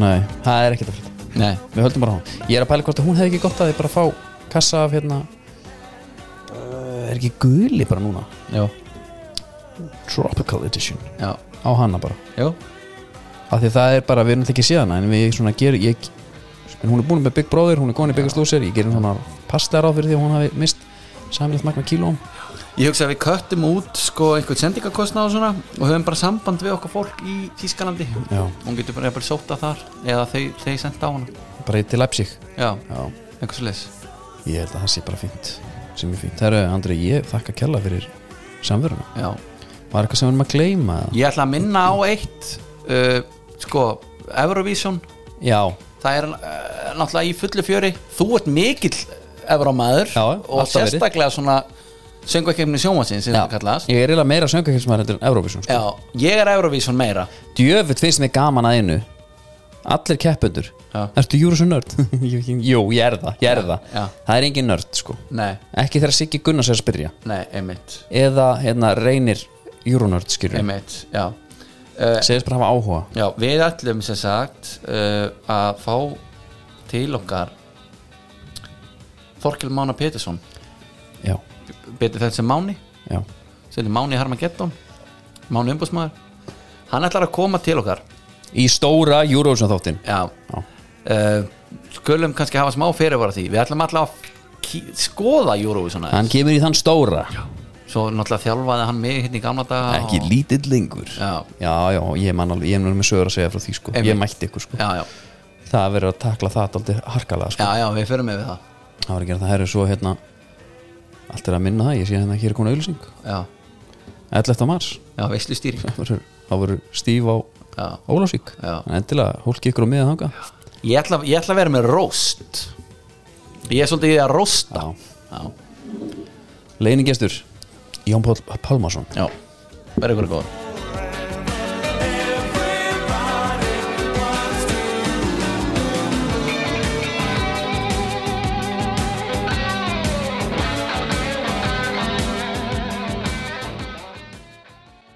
S2: Nei, það er ekkert að frétta
S3: Nei,
S2: Við höldum bara á hún Ég er að pæla hvort að hún hefði ekki gott að þið bara að fá kassa af hérna uh, Er ekki guli bara núna
S3: já
S2: Tropical Edition
S3: Já,
S2: á hana bara
S3: já,
S2: af því það er bara, við erum alltaf ekki síðan en við svona gerum ég, en hún er búin með Big Brother, hún er komin í Biggest Loser ég gerum svona pastar á fyrir því að hún hafi mist samilegt magna kílóm
S3: Ég hugsa að við köttum út sko einhvern sendingakostna og svona og höfum bara samband við okkar fólk í Tískalandi
S2: Já.
S3: Hún getur bara jafnvel sótt að þar eða þeir, þeir senda á hana
S2: bara í til Leipzig
S3: Já,
S2: Já,
S3: einhvers leis
S2: ég held að það sé bara fínt sem er fínt. Það eru, Andri, ég þakka kella fyrir samveruna.
S3: Já,
S2: Var eitthvað sem við erum að gleyma? eða?
S3: ég ætla að minna á eitt uh, sko Eurovision
S2: Já,
S3: það er uh, náttúrulega í fullu fjöri þú ert mikill Evrómaður
S2: Já,
S3: og
S2: alltaf verið.
S3: sérstaklega svona sönguakefni sjónvansins sem
S2: já.
S3: það kallast
S2: ég er eiginlega meira söngakellismæður heldur en Eurovision.
S3: Já, ég er Eurovision meira
S2: Djöfitt finnst mér gaman að einu Allir keppendur
S3: Já.
S2: Ertu Júrusun nörd? Jú, ég er það, ég er það.
S3: Já.
S2: Það er engin nörd, sko
S3: Nei,
S2: Ekki þegar Siggi Gunnars er að spyrja
S3: nei, einmitt
S2: Eða hérna, reynir Júrunörd, skilur
S3: einmitt, já
S2: Segist bara hafa áhuga
S3: Já, við ætlum sem sagt uh, að fá til okkar Þorkel Mána Pétursson
S2: Já,
S3: betur þetta sem Máni
S2: já,
S3: sem er Máni Harmageddon Máni umbúsmaður hann ætlar að koma til okkar
S2: í stóra Júrusun þáttin
S3: Já,
S2: Já.
S3: Uh, skulum kannski hafa smá fyrirvara því við ætlum alltaf að kí- skoða Eurovision aðeins
S2: Hann kemur í þann stóra já.
S3: svo náttúrulega þjálfaði hann mig hérna í gamla daga
S2: Ekki
S3: og...
S2: lítill lengur
S3: Já.
S2: já, já, ég man alveg, ég er nú með sögur að segja frá því sko.
S3: Einmitt.
S2: Ég mætti ykkur sko.
S3: já, já,
S2: Það verður að takla það aldrei harkalega
S3: já,
S2: sko.
S3: já, við fyrir með við það
S2: Það verður að gera það herri svo hérna Allt er að minna það, ég sé hérna að hér er komin auðlýsing
S3: já,
S2: 11. mars
S3: já, veislu stýring
S2: Það verður- það verður stíf á
S3: já.
S2: Ólásík
S3: Já.
S2: En endilega, hólki ykkur á miða þanga
S3: Ég, ætla, ég ætla að vera með roast ég er svolítið í að roasta
S2: Já.
S3: já,
S2: Leiningestur Jón Pál Pálmarsson
S3: já. verður ykkur góður